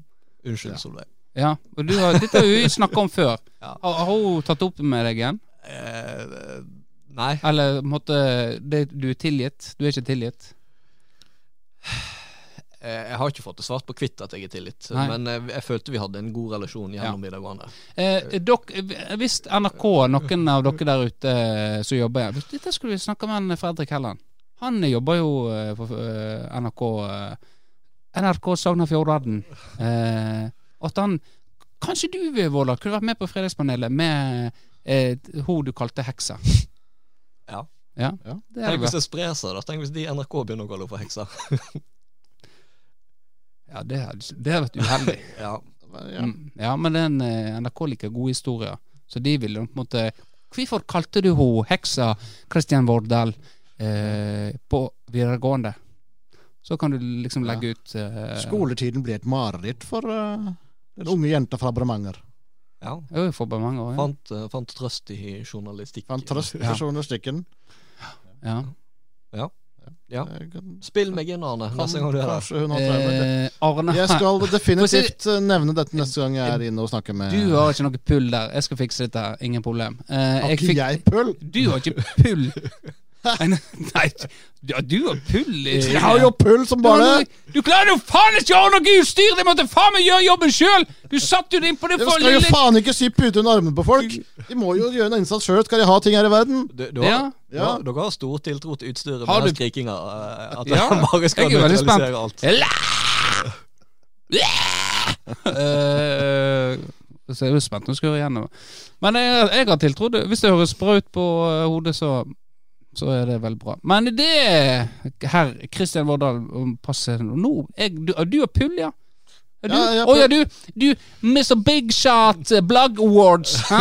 Speaker 2: Unnskyld, Solveig.
Speaker 1: ja. Og du har, dette har vi snakka om før.
Speaker 2: Ja.
Speaker 1: Har, har hun tatt opp med deg igjen?
Speaker 2: Eh, nei.
Speaker 1: Eller måtte, det, du er tilgitt? Du er ikke tilgitt?
Speaker 2: Eh, Jeg har ikke fått det svart på hvitt at jeg er tillit,
Speaker 1: Nei.
Speaker 2: men eh, jeg følte vi hadde en god relasjon gjennom videregående.
Speaker 1: Eh, dok, hvis NRK, noen av dere der ute eh, som jobber her Dette skulle vi snakke med han Fredrik Helland. Han jobber jo eh, for eh, NRK eh, NRK Sogn og Fjordane. Eh, at han Kanskje du, Våla, kunne vært med på Fredagspanelet med eh, hun du kalte heksa.
Speaker 2: Ja.
Speaker 1: Ja,
Speaker 3: Ja.
Speaker 1: det er det
Speaker 2: Tenk hvis
Speaker 1: bra.
Speaker 2: det sprer seg, da. Tenk hvis de i NRK begynner å kalle henne for hekser.
Speaker 1: Ja, det hadde det hadde vært uheldig.
Speaker 2: Ja.
Speaker 3: Ja.
Speaker 1: Mm. Ja, men den, eh, NRK liker gode historier, så de ville på en måte Hvorfor kalte du henne heksa Christian Vårdal eh, på videregående? Så kan du liksom
Speaker 3: Ja.
Speaker 1: legge ut eh,
Speaker 3: Skoletiden ble et mareritt for eh, den unge jenta fra Bremanger.
Speaker 2: ja.
Speaker 1: Jo, for bare mange år. Ja.
Speaker 2: Fant, eh, fant trøst i journalistikk.
Speaker 3: Fant trøst
Speaker 1: Ja.
Speaker 3: for journalistikken.
Speaker 1: Ja.
Speaker 2: Ja.
Speaker 3: Jeg kan-
Speaker 2: Spill meg inn, Arne, neste gang du er der.
Speaker 3: Kanskje hun har traumer.
Speaker 1: Eh, Arne,
Speaker 3: Jeg skal definitivt eh, nevne dette neste gang jeg
Speaker 1: Eh,
Speaker 3: er inne og snakker med
Speaker 1: du har ikke noe pull der. Jeg skal fikse dette. her. Ingen problem. Eh,
Speaker 3: Har
Speaker 1: jeg
Speaker 3: ikke
Speaker 1: fikk-
Speaker 3: jeg pull?
Speaker 1: Du har ikke pull. Nei, nei ja, du har pull. i-
Speaker 3: Jeg har jo pull som bare
Speaker 1: Du klarer jo faen ikke å ha noe utstyr! De måtte faen meg gjøre jobben sjøl! Du satt jo innpå det
Speaker 3: Jeg
Speaker 1: for
Speaker 3: skal jo
Speaker 1: lille
Speaker 3: faen ikke sy pute under armene på folk! De må jo gjøre en innsats sjøl, skal de ha ting her i verden.
Speaker 2: Du, du har,
Speaker 1: Ja.
Speaker 2: du har- Dere har stor tiltro til utstyret
Speaker 1: Har
Speaker 2: med den
Speaker 1: du-
Speaker 2: skrikinga. eh, At
Speaker 1: Ja,
Speaker 2: han bare skal
Speaker 1: jeg er veldig spent.
Speaker 2: nøytralisere alt.
Speaker 1: Eh, Så er du spent når du skal høre igjennom. Men jeg, jeg har tiltro. til- Hvis det høres bra ut på eh, hodet, så så er det vel bra. Men det, herr Kristian Vårdal, passe nå jeg, du, ah, du har pull, ja? Er du?
Speaker 3: Ja, jeg
Speaker 1: Å
Speaker 3: har
Speaker 1: ja, du, du Mr. Big Shot eh, Blog Awards, hæ?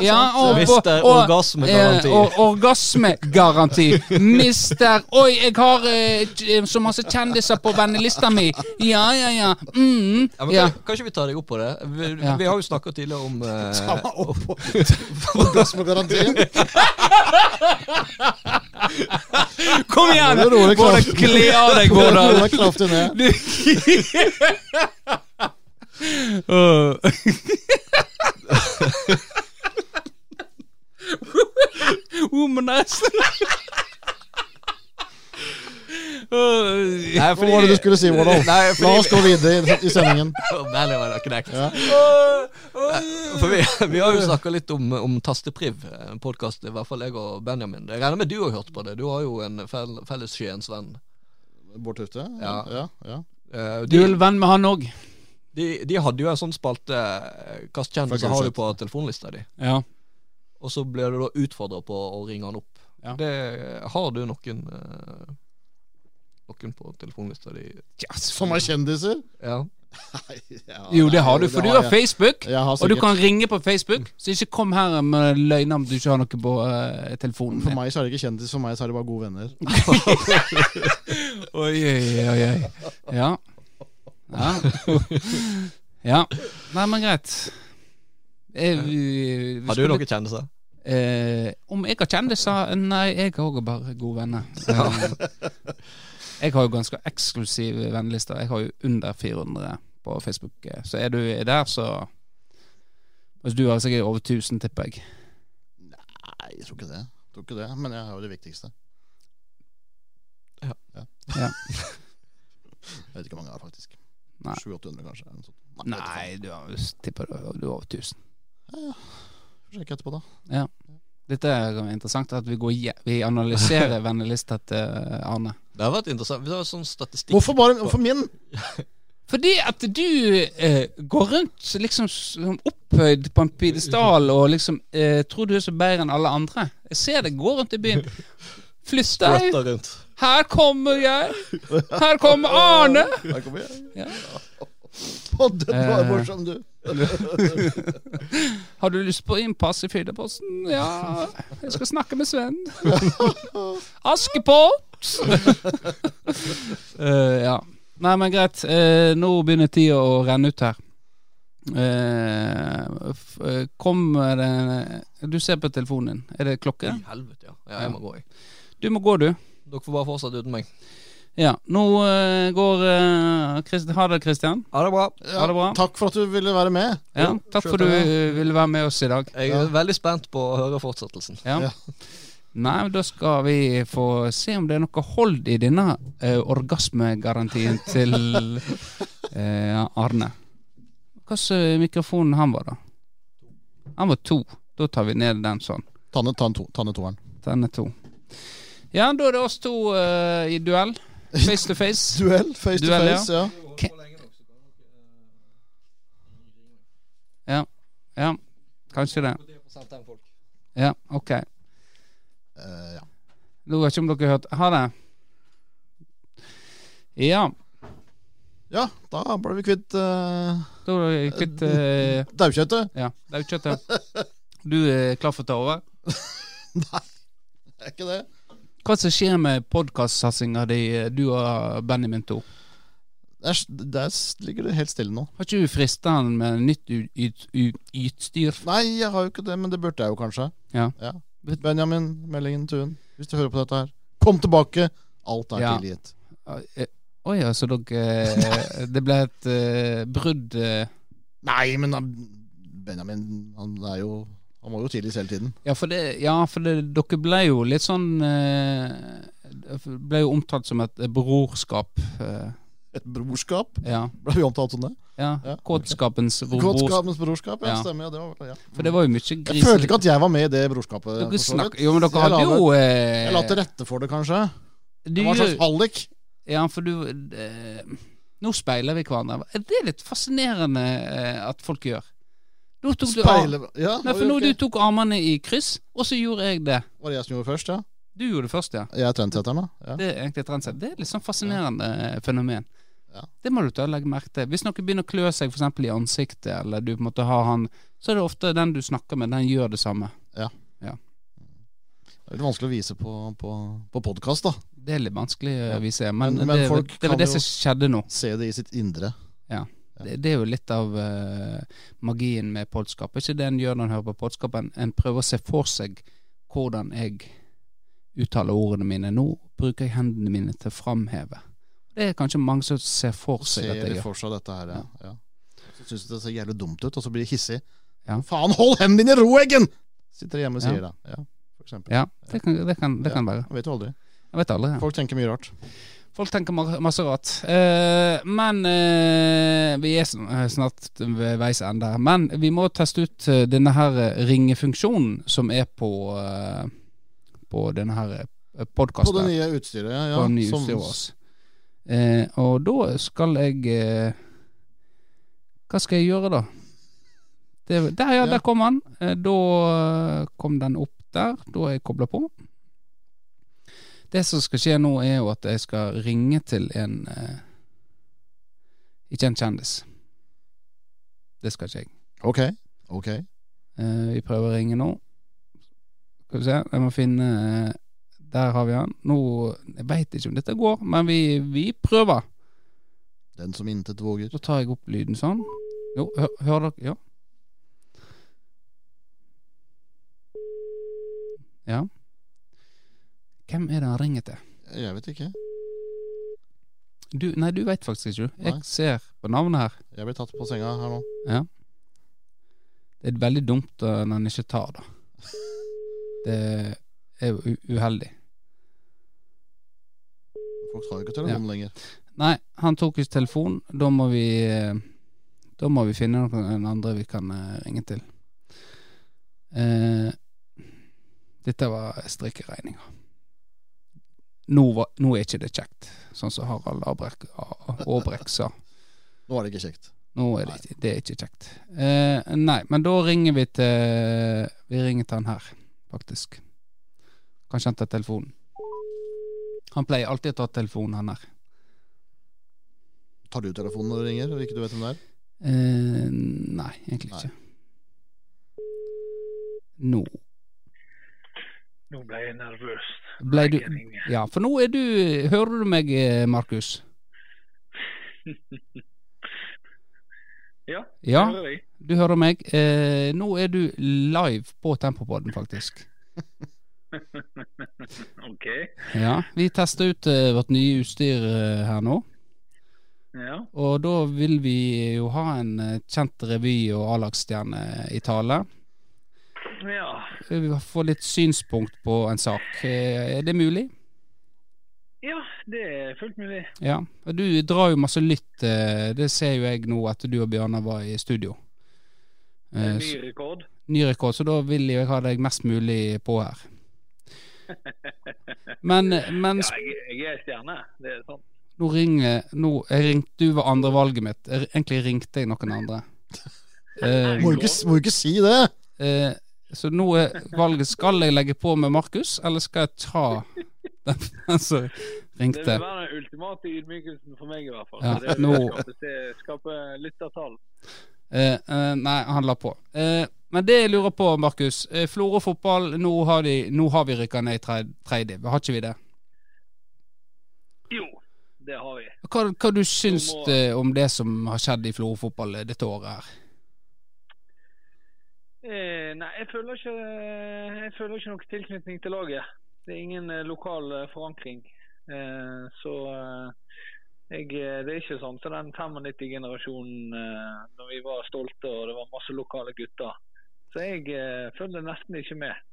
Speaker 3: Ja, sant.
Speaker 2: Hvis det er orgasmegaranti.
Speaker 1: Eh, og orgasmegaranti. Mister Oi, jeg har eh, k- så masse kjendiser på vennelista mi. Ja, ja, ja. Mm,
Speaker 2: Ja, men
Speaker 1: ja.
Speaker 2: kan, kan ikke vi ta deg opp på det? Vi,
Speaker 1: Ja.
Speaker 2: vi har jo snakka tidligere om eh,
Speaker 3: Ta meg opp på orgasmegarantien.
Speaker 1: Kom igjen!
Speaker 3: Nå roer det
Speaker 1: Vårdal,
Speaker 3: kraften.
Speaker 1: kle av deg,
Speaker 3: Roer
Speaker 1: Vårdal.
Speaker 3: deg kraftig ned.
Speaker 1: Åh. Womanizer. Åh,
Speaker 2: Nei,
Speaker 3: Hva var det du skulle si, Vårdal?
Speaker 2: Nei,
Speaker 3: La
Speaker 2: fordi
Speaker 3: oss gå videre i, i sendingen.
Speaker 2: Der var det knekt.
Speaker 3: Ja.
Speaker 2: For vi, vi har jo snakka litt om, om Tastepriv, en podkast i hvert fall jeg og Benjamin. Jeg regner med du har hørt på det? Du har jo en fell, felles skiensvenn.
Speaker 3: Bård Tufte?
Speaker 2: Ja.
Speaker 3: Ja, ja.
Speaker 2: Eh,
Speaker 1: Du
Speaker 2: de,
Speaker 1: er venn med han òg.
Speaker 2: de, de hadde jo en sånn spalte eh, Hvilke kjendiser har du
Speaker 3: Fuck,
Speaker 2: på telefonlista di?
Speaker 1: Ja.
Speaker 2: Og så ble du da utfordra på å ringe han opp.
Speaker 1: Ja.
Speaker 2: Det, har du noen eh, Noen på telefonlista di?
Speaker 3: Som er kjendiser?
Speaker 2: Ja.
Speaker 3: Nei, ja,
Speaker 1: Jo, det
Speaker 3: nei,
Speaker 1: har du, for du har
Speaker 3: jeg.
Speaker 1: Facebook.
Speaker 3: Jeg har
Speaker 1: Og du
Speaker 3: sikkert-
Speaker 1: kan ringe på Facebook, så ikke kom her med løgner om du ikke har noe på eh, telefonen.
Speaker 3: For meg så er det ikke kjendis, for meg så er det bare gode venner.
Speaker 1: Oi, oi, oi, oi. Ja. Ja. ja. Nei, men greit. Eh, vi- vi
Speaker 2: Har du
Speaker 1: skulle-
Speaker 2: noen kjendiser?
Speaker 1: Eh, om jeg har kjendiser? Nei, jeg har òg bare gode venner. Eh, jeg har jo ganske eksklusiv venneliste. Jeg har jo under 400 på Facebook. eh, Så er du der, så Altså, Du har sikkert over 1000, tipper jeg.
Speaker 3: Nei, jeg tror ikke det. Jeg tror ikke det, Men jeg har jo det viktigste.
Speaker 2: Ja.
Speaker 3: ja.
Speaker 1: Ja.
Speaker 3: jeg vet ikke hvor mange jeg har, faktisk.
Speaker 1: Nei.
Speaker 3: 700-800, kanskje. eller noe sånt. jeg vet ikke faen.
Speaker 1: Nei, du har, tipper du, har- du har over 1000.
Speaker 3: Sjekk etterpå, da.
Speaker 1: Dette er interessant, at vi, går, je- vi analyserer vennelista til eh, Arne.
Speaker 2: Det har vært interessant. Vi har sånn statistikk
Speaker 3: Hvorfor bare hvorfor min?
Speaker 1: Fordi at du eh, går rundt liksom som opphøyd på en pidestall og liksom eh, tror du er så bedre enn alle andre. Jeg ser deg gå rundt i byen. Flytt deg!
Speaker 2: Røtter rundt.
Speaker 1: Her kommer jeg! Her kommer Arne!
Speaker 3: Der kommer jeg.
Speaker 1: Ja.
Speaker 3: Podden var
Speaker 1: Eh.
Speaker 3: morsom, du.
Speaker 1: Har du lyst på innpass i Fylleposten? Ja, jeg skal snakke med Sven. Askepott! Eh, ja. Nei, men greit. Eh, nå begynner tida å renne ut her. Eh, f eh, kom det Du ser på telefonen din. Er det
Speaker 2: I
Speaker 1: klokke?
Speaker 2: helvete, ja. ja. Jeg må gå, jeg.
Speaker 1: Du må gå, du.
Speaker 2: Dere får bare fortsette uten meg.
Speaker 1: Ja. Nå eh, går eh, Christ Ha det, Christian.
Speaker 2: Ha det bra.
Speaker 1: Ha det bra.
Speaker 3: Takk for at du ville være med.
Speaker 1: Ja,
Speaker 2: Jo,
Speaker 1: takk
Speaker 2: skjønt
Speaker 1: for du
Speaker 2: det.
Speaker 1: eh, ville være med oss i dag.
Speaker 2: Jeg er veldig spent på å høre fortsettelsen.
Speaker 1: Ja.
Speaker 3: Ja.
Speaker 1: Nei, men da skal vi få se om det er noe hold i denne eh, orgasmegarantien til eh, Arne. Hva slags mikrofon han var, da? Han var to. Da tar vi ned den sånn.
Speaker 3: Ta ned, ta ned, to, ta ned toeren.
Speaker 1: Den er to. Ja, da er det oss to eh, i duell. Face to face.
Speaker 3: Duell, face
Speaker 1: Duell,
Speaker 3: to
Speaker 1: ja.
Speaker 3: face. Ja.
Speaker 1: Ja, kanskje det. Ja, ok.
Speaker 3: Eh, ja.
Speaker 1: Nå vet jeg ikke om dere har hørt Ha det. Ja.
Speaker 3: Ja, da ble vi kvitt uh,
Speaker 1: Da var det kvitt eh,
Speaker 3: daukjøttet.
Speaker 1: Ja, daukjøttet. Du er klar for å ta over?
Speaker 3: Det Er ikke det?
Speaker 1: Hva som skjer med podkastsatsinga di, eh, du og Benjamin to?
Speaker 3: Der, s- der s- ligger det helt stille nå.
Speaker 1: Har ikke du frista han med nytt u- ut- u- utstyr?
Speaker 3: Nei, jeg har jo ikke det, men det burde jeg jo kanskje.
Speaker 1: Ja.
Speaker 3: Benjamin, meldingen Tuen, hvis du hører på dette her, kom tilbake! Alt er
Speaker 1: Ja.
Speaker 3: tilgitt.
Speaker 1: Å eh, ja, så dere Det ble et eh, brudd eh.
Speaker 3: Nei, men da, Benjamin, han er jo Han må jo tilgis hele tiden.
Speaker 1: Ja, for, det, ja, for det, dere ble jo litt sånn eh, Ble jo omtalt som et brorskap. eh,
Speaker 3: Et brorskap?
Speaker 1: ja.
Speaker 3: Ble vi omtalt som det?
Speaker 1: ja.
Speaker 3: Ja.
Speaker 1: Kåtskapens bror.
Speaker 3: Kåtskapens brorskap, ja,
Speaker 1: Ja.
Speaker 3: stemmer. Ja, det var, ja.
Speaker 1: For det var jo mye
Speaker 3: Jeg følte
Speaker 1: griseri.
Speaker 3: ikke at jeg var med i det brorskapet.
Speaker 1: Dere
Speaker 3: for så vidt.
Speaker 1: snakker Jo, men dere
Speaker 3: Jeg
Speaker 1: hadde
Speaker 3: la det-
Speaker 1: jo
Speaker 3: Jeg la til
Speaker 1: eh,
Speaker 3: rette for det, kanskje.
Speaker 1: du,
Speaker 3: Det var en slags hallik.
Speaker 1: Ja, for du eh, Nå speiler vi hverandre. Er Det er litt fascinerende eh, at folk gjør. Nå tok du av-
Speaker 3: Speile ja,
Speaker 1: Nei, for nå
Speaker 3: ok.
Speaker 1: du tok armene i kryss, og så gjorde jeg det.
Speaker 3: Var det jeg som gjorde først, ja?
Speaker 1: Du gjorde det først, ja.
Speaker 3: Jeg er trendsetteren, da. Ja.
Speaker 1: Det er egentlig et trendsett. Det er et litt sånn fascinerende eh, fenomen.
Speaker 3: Ja.
Speaker 1: Det må du ta og legge merke til. Hvis noen begynner å klø seg for eksempel i ansiktet, eller du på en måte har han, så er det ofte den du snakker med, den gjør det samme.
Speaker 3: Det er litt vanskelig å vise på, på, på podkast, da.
Speaker 1: Det er litt vanskelig
Speaker 3: Ja.
Speaker 1: å vise, men,
Speaker 3: Men- men
Speaker 1: det,
Speaker 3: folk
Speaker 1: det, det
Speaker 3: kan
Speaker 1: var det
Speaker 3: jo-
Speaker 1: som skjedde nå.
Speaker 3: Se det i sitt indre. Ja.
Speaker 1: Det, det er jo litt av eh, magien med podskap. Er ikke det en gjør når en hører på podskap? En, en prøver å se for seg hvordan jeg uttaler ordene mine. Nå bruker jeg hendene mine til å framheve. Det er kanskje mange som ser for seg
Speaker 3: Se
Speaker 1: at jeg
Speaker 3: de
Speaker 1: gjør.
Speaker 3: for seg dette her, ja. ja. Så syns du det ser jævlig dumt ut, og så blir de hissig.
Speaker 1: Ja.
Speaker 3: Faen, hold hendene dine i ro, Eggen! Sitter de hjemme og
Speaker 1: Ja.
Speaker 3: sier det. Ja, for eksempel.
Speaker 1: Ja, det kan, det kan, det kan være.
Speaker 3: Jeg vet jo aldri.
Speaker 1: Jeg vet aldri. Ja.
Speaker 3: Folk tenker mye rart.
Speaker 1: Folk tenker ma- masse rart. Eh, men eh, vi er sn- eh, snart ved veis ende. her. Men vi må teste ut eh, denne her eh, ringefunksjonen som er på eh, På denne her eh,
Speaker 3: På det
Speaker 1: podkasten.
Speaker 3: nye utstyret, ja. ja.
Speaker 1: På ny
Speaker 3: Som-
Speaker 1: utstyret vårt. Eh, og da skal jeg eh, Hva skal jeg gjøre, da? Det, der, ja,
Speaker 3: Ja.
Speaker 1: der kom han. Eh, da eh, kom den opp der. Da er jeg kobla på. Det som skal skje nå, er jo at jeg skal ringe til en eh, Ikke en kjendis. Det skal ikke jeg.
Speaker 3: Ok, ok.
Speaker 1: Eh, vi prøver å ringe nå. Skal vi se, jeg må finne eh, Der har vi han. Nå Jeg veit ikke om dette går, men vi, vi prøver.
Speaker 3: Den som intet våger.
Speaker 1: Så tar jeg opp lyden sånn. Jo, hør, hører dere? Ja. Ja. Hvem er det han ringer til?
Speaker 3: Jeg vet ikke.
Speaker 1: Du, nei, du veit faktisk ikke. du.
Speaker 3: Nei.
Speaker 1: Jeg ser på navnet her.
Speaker 3: Jeg blir tatt på senga her nå.
Speaker 1: Det er veldig dumt eh, når en ikke tar, da. Det er jo u- uheldig.
Speaker 3: Folk tar jo ikke telefonen lenger.
Speaker 1: Nei, han tok ikke telefon. Da må vi eh, Da må vi finne noen andre vi kan eh, ringe til. Eh, dette var strikkeregninga. Nå, var- nå er ikke det kjekt, sånn som Harald Abrek, A- Aabrekk sa.
Speaker 3: Nå er det ikke kjekt.
Speaker 1: Nå er det, ikke- det er ikke kjekt. Eh, nei, men da ringer vi til Vi ringer til han her, faktisk. Kanskje han tar telefonen. Han pleier alltid å ta telefonen, han her.
Speaker 3: Tar du telefonen når du ringer, eller ikke du vet hvem det er?
Speaker 1: Eh, nei, egentlig
Speaker 3: Nei.
Speaker 1: ikke. Nå
Speaker 4: Nå ble jeg nervøs.
Speaker 1: ble du
Speaker 4: Jeg ringer.
Speaker 1: Ja, for nå er du Hører du meg, eh, Markus?
Speaker 4: Ja,
Speaker 1: Ja,
Speaker 4: hører jeg.
Speaker 1: du hører meg. Eh, nå er du live på Tempopodden, faktisk.
Speaker 4: OK.
Speaker 1: Ja, vi tester ut eh, vårt nye utstyr eh, her nå.
Speaker 4: Ja.
Speaker 1: Og da vil vi jo ha en eh, kjent revy og A-lagsstjerne i tale.
Speaker 4: ja.
Speaker 1: Vi vil Få litt synspunkt på en sak. Eh, er det mulig?
Speaker 4: Ja, det er fullt mulig.
Speaker 1: Ja. Og Du drar jo masse lytt. eh, Det ser jo jeg nå etter du og Bjørnar var i studio.
Speaker 4: Det er
Speaker 1: Eh,
Speaker 4: en
Speaker 1: s-
Speaker 4: ny rekord.
Speaker 1: ny rekord, så da vil jeg ha deg mest mulig på her. Men, men
Speaker 4: Ja,
Speaker 1: sp-
Speaker 4: jeg, jeg er stjerne. Det er sånn.
Speaker 1: nå ringer nå, jeg ringte, Du var andrevalget mitt. Jeg, egentlig ringte jeg noen andre. Eh,
Speaker 3: Må jo ikke, må jo ikke si det!
Speaker 1: eh, så nå er valget Skal jeg legge på med Markus, eller skal jeg ta Den, den som
Speaker 4: Det vil
Speaker 1: ringte.
Speaker 4: være den ultimate ydmykelsen for meg, i hvert fall.
Speaker 1: Ja,
Speaker 4: Så det vil
Speaker 1: nå-
Speaker 4: skape, se- skape lyttertall.
Speaker 1: Eh, eh, nei, han la på. Eh, men det jeg lurer på, Markus. Eh, Florø fotball, nå har, de, nå har vi rykka ned i tre- tredje. Har ikke vi det?
Speaker 4: Jo, det har vi.
Speaker 1: Hva, hva du syns
Speaker 4: Nå må-
Speaker 1: eh, om det som har skjedd i Florø fotball eh, dette året her?
Speaker 4: Eh, nei, jeg føler, ikke, jeg føler ikke noen tilknytning til laget. Det er ingen eh, lokal eh, forankring. Eh, så eh, jeg, eh, det er ikke sånn som den 95-generasjonen eh, når vi var stolte og det var masse lokale gutter. Så jeg eh, følger nesten ikke med.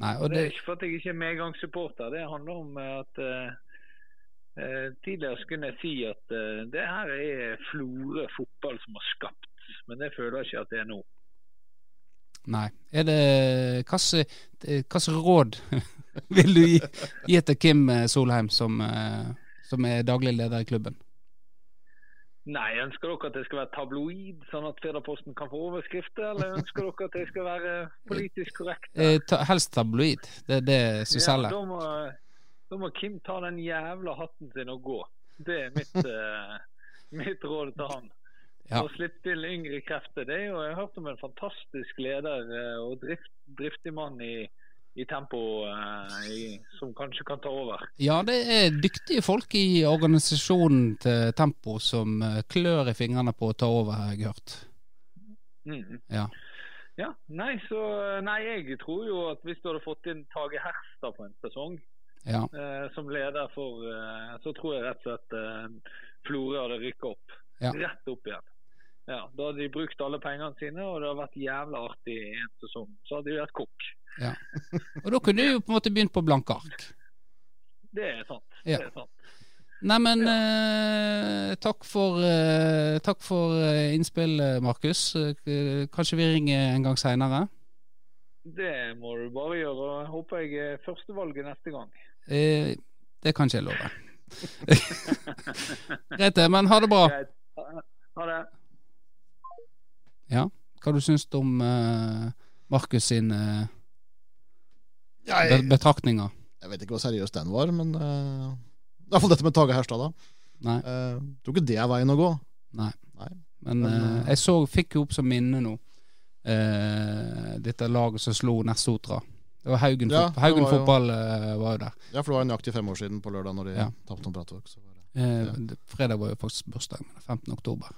Speaker 1: Nei, og
Speaker 4: Det er
Speaker 1: det,
Speaker 4: ikke for at jeg ikke er medgangssupporter. Det handler om eh, at eh, eh, Tidligere så kunne jeg si at eh, det her er Florø fotball som har skapt, men det føler jeg ikke at det er nå.
Speaker 1: nei. Er det Hva slags råd vil du gi, gi til Kim eh, Solheim, som, eh, som er daglig leder i klubben?
Speaker 4: Nei, Ønsker dere at jeg skal være tabloid, sånn at Federposten kan få overskrifter? Eller ønsker dere at jeg skal være politisk korrekt?
Speaker 1: Eh, ta, helst tabloid. Det er det som
Speaker 4: Ja,
Speaker 1: selger.
Speaker 4: da, må, da må Kim ta den jævla hatten sin og gå. Det er mitt, eh, mitt råd til han.
Speaker 1: Ja.
Speaker 4: Og slipp til yngre krefter. Det er jo, Jeg har hørt om en fantastisk leder eh, og drift, driftig mann i, i tempo eh, i, som kanskje kan ta over.
Speaker 1: Ja, det er dyktige folk i organisasjonen til Tempo som eh, klør i fingrene på å ta over, har jeg hørt.
Speaker 4: Mm.
Speaker 1: Ja.
Speaker 4: Ja, nei, så, eh, nei, jeg tror jo at hvis du hadde fått inn Tage Herstad på en sesong
Speaker 1: Ja,
Speaker 4: eh, som leder for eh, Så tror jeg rett og slett eh, Florø hadde rykket opp.
Speaker 1: Ja.
Speaker 4: Rett opp igjen. Ja, Da hadde de brukt alle pengene sine, og det hadde vært jævla artig i en sesong. Så hadde de vært kokk.
Speaker 1: Og da kunne du jo på en måte begynt på blanke ark.
Speaker 4: Det er sant.
Speaker 1: Ja.
Speaker 4: Det er sant.
Speaker 1: Neimen, eh, takk for, eh, takk for eh, innspill, eh, Markus. Eh, kanskje vi ringer en gang seinere?
Speaker 4: Det må du bare gjøre. og Jeg håper jeg er førstevalget neste gang.
Speaker 1: Eh, det kan ikke jeg love. Greit det, men ha det bra.
Speaker 4: Greit. Ha- Ha det.
Speaker 1: Hva du syns du om eh, Markus sine eh,
Speaker 3: Jeg,
Speaker 1: be- betraktninger?
Speaker 3: jeg vet ikke hvor seriøs den var, men eh, I hvert fall dette med Tage Herstad, da.
Speaker 1: Nei.
Speaker 3: Eh, tror ikke det er veien å gå.
Speaker 1: Men
Speaker 3: Men,
Speaker 1: eh, jeg så, fikk jo opp som minne nå eh, dette laget som slo Nessotra. Det var Haugen,
Speaker 3: Ja,
Speaker 1: fot- Haugen
Speaker 3: det var jo-
Speaker 1: fotball eh, var jo der.
Speaker 3: Ja, for det var nøyaktig fem år siden på lørdag når de
Speaker 1: Ja.
Speaker 3: tapte om Brattvåg. så var det-
Speaker 1: Eh,
Speaker 3: Ja.
Speaker 1: d- Fredag var jo faktisk bursdag min, 15. oktober.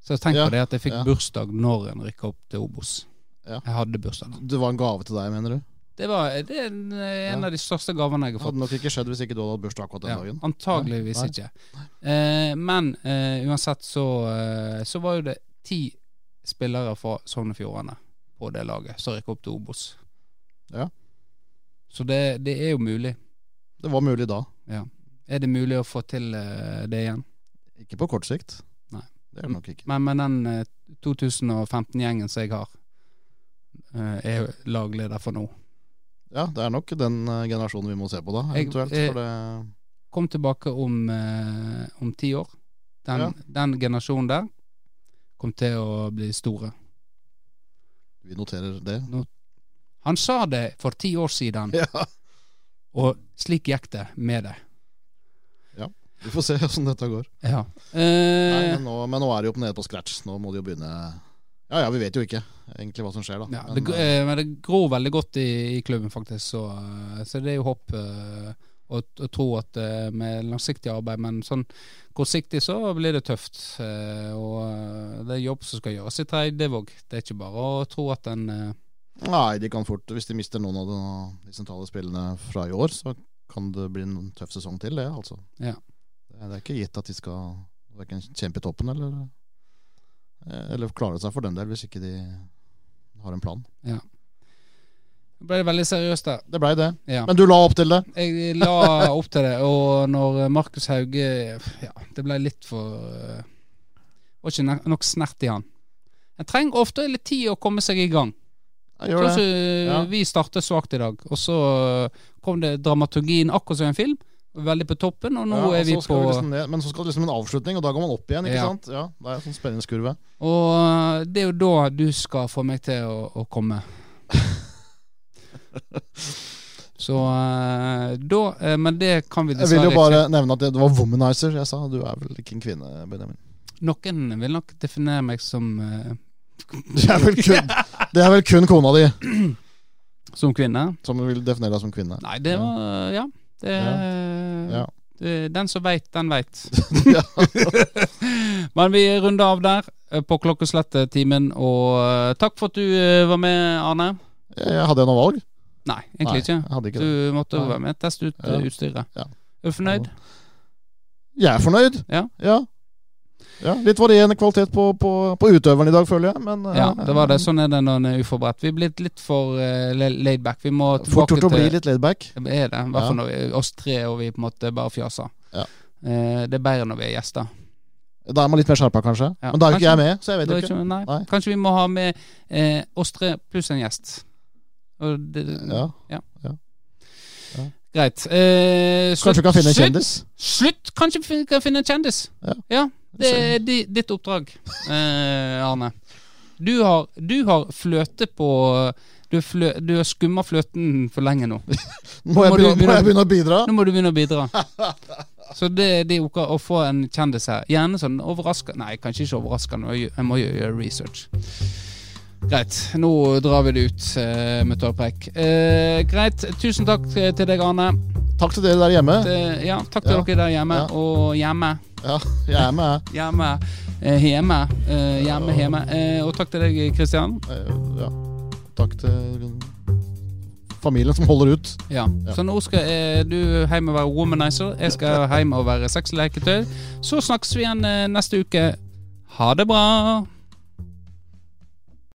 Speaker 1: Så tenk
Speaker 3: Ja,
Speaker 1: på det at jeg fikk
Speaker 3: ja.
Speaker 1: bursdag når en rykka opp til Obos.
Speaker 3: Ja.
Speaker 1: Jeg hadde bursdag. da.
Speaker 3: Det var en gave til deg, mener du?
Speaker 1: Det, var, eh, det er en, en
Speaker 3: Ja.
Speaker 1: av de største gavene jeg
Speaker 3: Det
Speaker 1: har fått.
Speaker 3: hadde nok ikke skjedd hvis ikke du hadde hatt bursdag akkurat den
Speaker 1: Ja,
Speaker 3: dagen.
Speaker 1: antageligvis
Speaker 3: Nei.
Speaker 1: ikke. Eh, men eh, uansett så, eh, så var jo det ti spillere fra Sogn og Fjordane på det laget som rykket opp til Obos.
Speaker 3: Ja.
Speaker 1: Så det, det er jo mulig.
Speaker 3: Det var mulig da.
Speaker 1: Er det mulig å få til eh, det igjen?
Speaker 3: Ikke på kort sikt.
Speaker 1: Nei.
Speaker 3: Det er det nok ikke.
Speaker 1: Men med den eh, 2015-gjengen som jeg har, eh, er jo lagleder for nå.
Speaker 3: Ja, det er nok den eh, generasjonen vi må se på da,
Speaker 1: Jeg-
Speaker 3: eventuelt.
Speaker 1: jeg-
Speaker 3: For det,
Speaker 1: Kom tilbake om, eh, om ti år. Den,
Speaker 3: Ja.
Speaker 1: den generasjonen der kom til å bli store.
Speaker 3: vi noterer det.
Speaker 1: Han sa det for ti år siden,
Speaker 3: Ja,
Speaker 1: og slik gikk det med det.
Speaker 3: Vi får se åssen dette går.
Speaker 1: Ja.
Speaker 3: Nei,
Speaker 1: Eh,
Speaker 3: men, nå, men nå er det jo nede på scratch. Nå må de jo begynne Ja ja, vi vet jo ikke egentlig hva som skjer, da.
Speaker 1: ja,
Speaker 3: Men,
Speaker 1: det, gro-
Speaker 3: eh,
Speaker 1: eh, men det gror veldig godt i, i klubben, faktisk, så, eh, så det er jo håp eh, og, og tro at eh, med langsiktig arbeid, men sånn kortsiktig så blir det tøft. eh, Og eh, det er jobb som skal gjøres i Treidevåg. Det er ikke bare å tro at en eh,
Speaker 3: nei, de kan fort Hvis de mister noen av de, de sentrale spillene fra i år, så kan det bli en tøff sesong til, det, altså.
Speaker 1: Ja.
Speaker 3: Det, det er ikke gitt at de skal verken kjempe i toppen eller eh, Eller klare seg for den del, hvis ikke de har en plan.
Speaker 1: Nå ble det veldig seriøst der.
Speaker 3: Det blei det.
Speaker 1: Ja.
Speaker 3: Men du la opp til det.
Speaker 1: Jeg la opp til det, og når Markus Hauge Ja, det ble litt for eh, Var ikke ne- nok snert i han. En trenger ofte litt tid å komme seg i gang.
Speaker 3: Jeg gjør
Speaker 1: Sånn som
Speaker 3: det.
Speaker 1: eh,
Speaker 3: Ja.
Speaker 1: vi startet svakt i dag, og så eh, kom det dramaturgien akkurat som en film. Veldig på toppen, og nå
Speaker 3: Ja, og
Speaker 1: er vi
Speaker 3: så
Speaker 1: på
Speaker 3: skal liksom ned, men så skal det liksom en avslutning, og da går man opp igjen, ikke
Speaker 1: Ja.
Speaker 3: sant? Ja, det er en sånn spenningskurve.
Speaker 1: Og eh, det er jo da du skal få meg til å, å komme. Så eh, da eh, Men det kan vi
Speaker 3: Jeg vil
Speaker 1: dessverre
Speaker 3: jo bare nevne at det det var womanizer jeg sa. Du er vel ikke en kvinne, Benjamin.
Speaker 1: ikke Noen vil nok definere meg som eh,
Speaker 3: Det er vel kun, det er vel kun kona di
Speaker 1: Som kvinne.
Speaker 3: som vil definere deg som kvinne.
Speaker 1: Nei, det
Speaker 3: Ja.
Speaker 1: var Ja. Det,
Speaker 3: Ja.
Speaker 1: det- Den som veit, den veit.
Speaker 3: Ja.
Speaker 1: Men vi runder av der eh, på klokkeslettetimen, og eh, takk for at du eh, var med, Arne.
Speaker 3: Jeg Eh, hadde jeg noe valg?
Speaker 1: Nei, egentlig ikke.
Speaker 3: Jeg hadde ikke det.
Speaker 1: Du måtte jo
Speaker 3: Nei.
Speaker 1: være med. Test ut
Speaker 3: Ja.
Speaker 1: eh, utstyret.
Speaker 3: Ja.
Speaker 1: Er du fornøyd?
Speaker 3: Jeg er fornøyd.
Speaker 1: Ja.
Speaker 3: Ja. Ja, Litt varierende kvalitet på, på, på utøveren i dag, føler jeg. Men eh,
Speaker 1: Ja, det var det. Sånn er det når en er uforberedt. Vi er blitt litt for eh, la- laid back. Vi må
Speaker 3: eh, Fort
Speaker 1: tilbake
Speaker 3: gjort å bli
Speaker 1: til
Speaker 3: litt laidback.
Speaker 1: Det er det. I hvert
Speaker 3: Ja.
Speaker 1: fall når vi oss tre og vi på en måte bare fjaser.
Speaker 3: Ja.
Speaker 1: Eh, det er bedre når vi er gjester.
Speaker 3: Da er man litt mer skjerpa, kanskje.
Speaker 1: Ja,
Speaker 3: Men da er jo ikke
Speaker 1: kanskje.
Speaker 3: jeg med, så jeg vet
Speaker 1: Da
Speaker 3: jo
Speaker 1: er
Speaker 3: ikke.
Speaker 1: ikke- nei.
Speaker 3: Nei.
Speaker 1: Kanskje vi må ha med eh, oss tre pluss en gjest. Og det,
Speaker 3: Ja.
Speaker 1: Greit. Eh, slutt-
Speaker 3: Kanskje du kan finne en
Speaker 1: slutt-
Speaker 3: kjendis?
Speaker 1: Slutt! Kanskje vi kan finne en kjendis.
Speaker 3: Ja.
Speaker 1: det er di, ditt oppdrag, eh, Arne. Du har, du har fløte på Du, har flø, du har skumma fløten for lenge nå.
Speaker 3: Må jeg
Speaker 1: Må du
Speaker 3: begynne, må
Speaker 1: begynne-
Speaker 3: jeg begynne å bidra?
Speaker 1: Nå må du begynne å bidra. Så det, det er ok å få en kjendis her. Gjerne sånn overraskende Nei, kanskje ikke overraskende. Jeg jeg må jo gjøre research. Greit. Nå drar vi det ut eh, med tårepreik. Eh, greit. Tusen takk eh, til deg, Arne.
Speaker 3: Takk til dere der hjemme.
Speaker 1: Eh, ja, takk til
Speaker 3: Ja.
Speaker 1: dere der hjemme.
Speaker 3: Ja.
Speaker 1: Og hjemme.
Speaker 3: Ja, jeg er med,
Speaker 1: Hjemme. Eh, hjemme. Eh, hjemme, hjemme. Eh, og takk til deg, Kristian.
Speaker 3: jeg. Eh, Ja. Takk til familien som holder ut.
Speaker 1: Ja. Så nå skal eh, du hjem og være womanizer. Jeg skal hjem og være sexleketøy. Så snakkes vi igjen eh, neste uke. Ha det bra.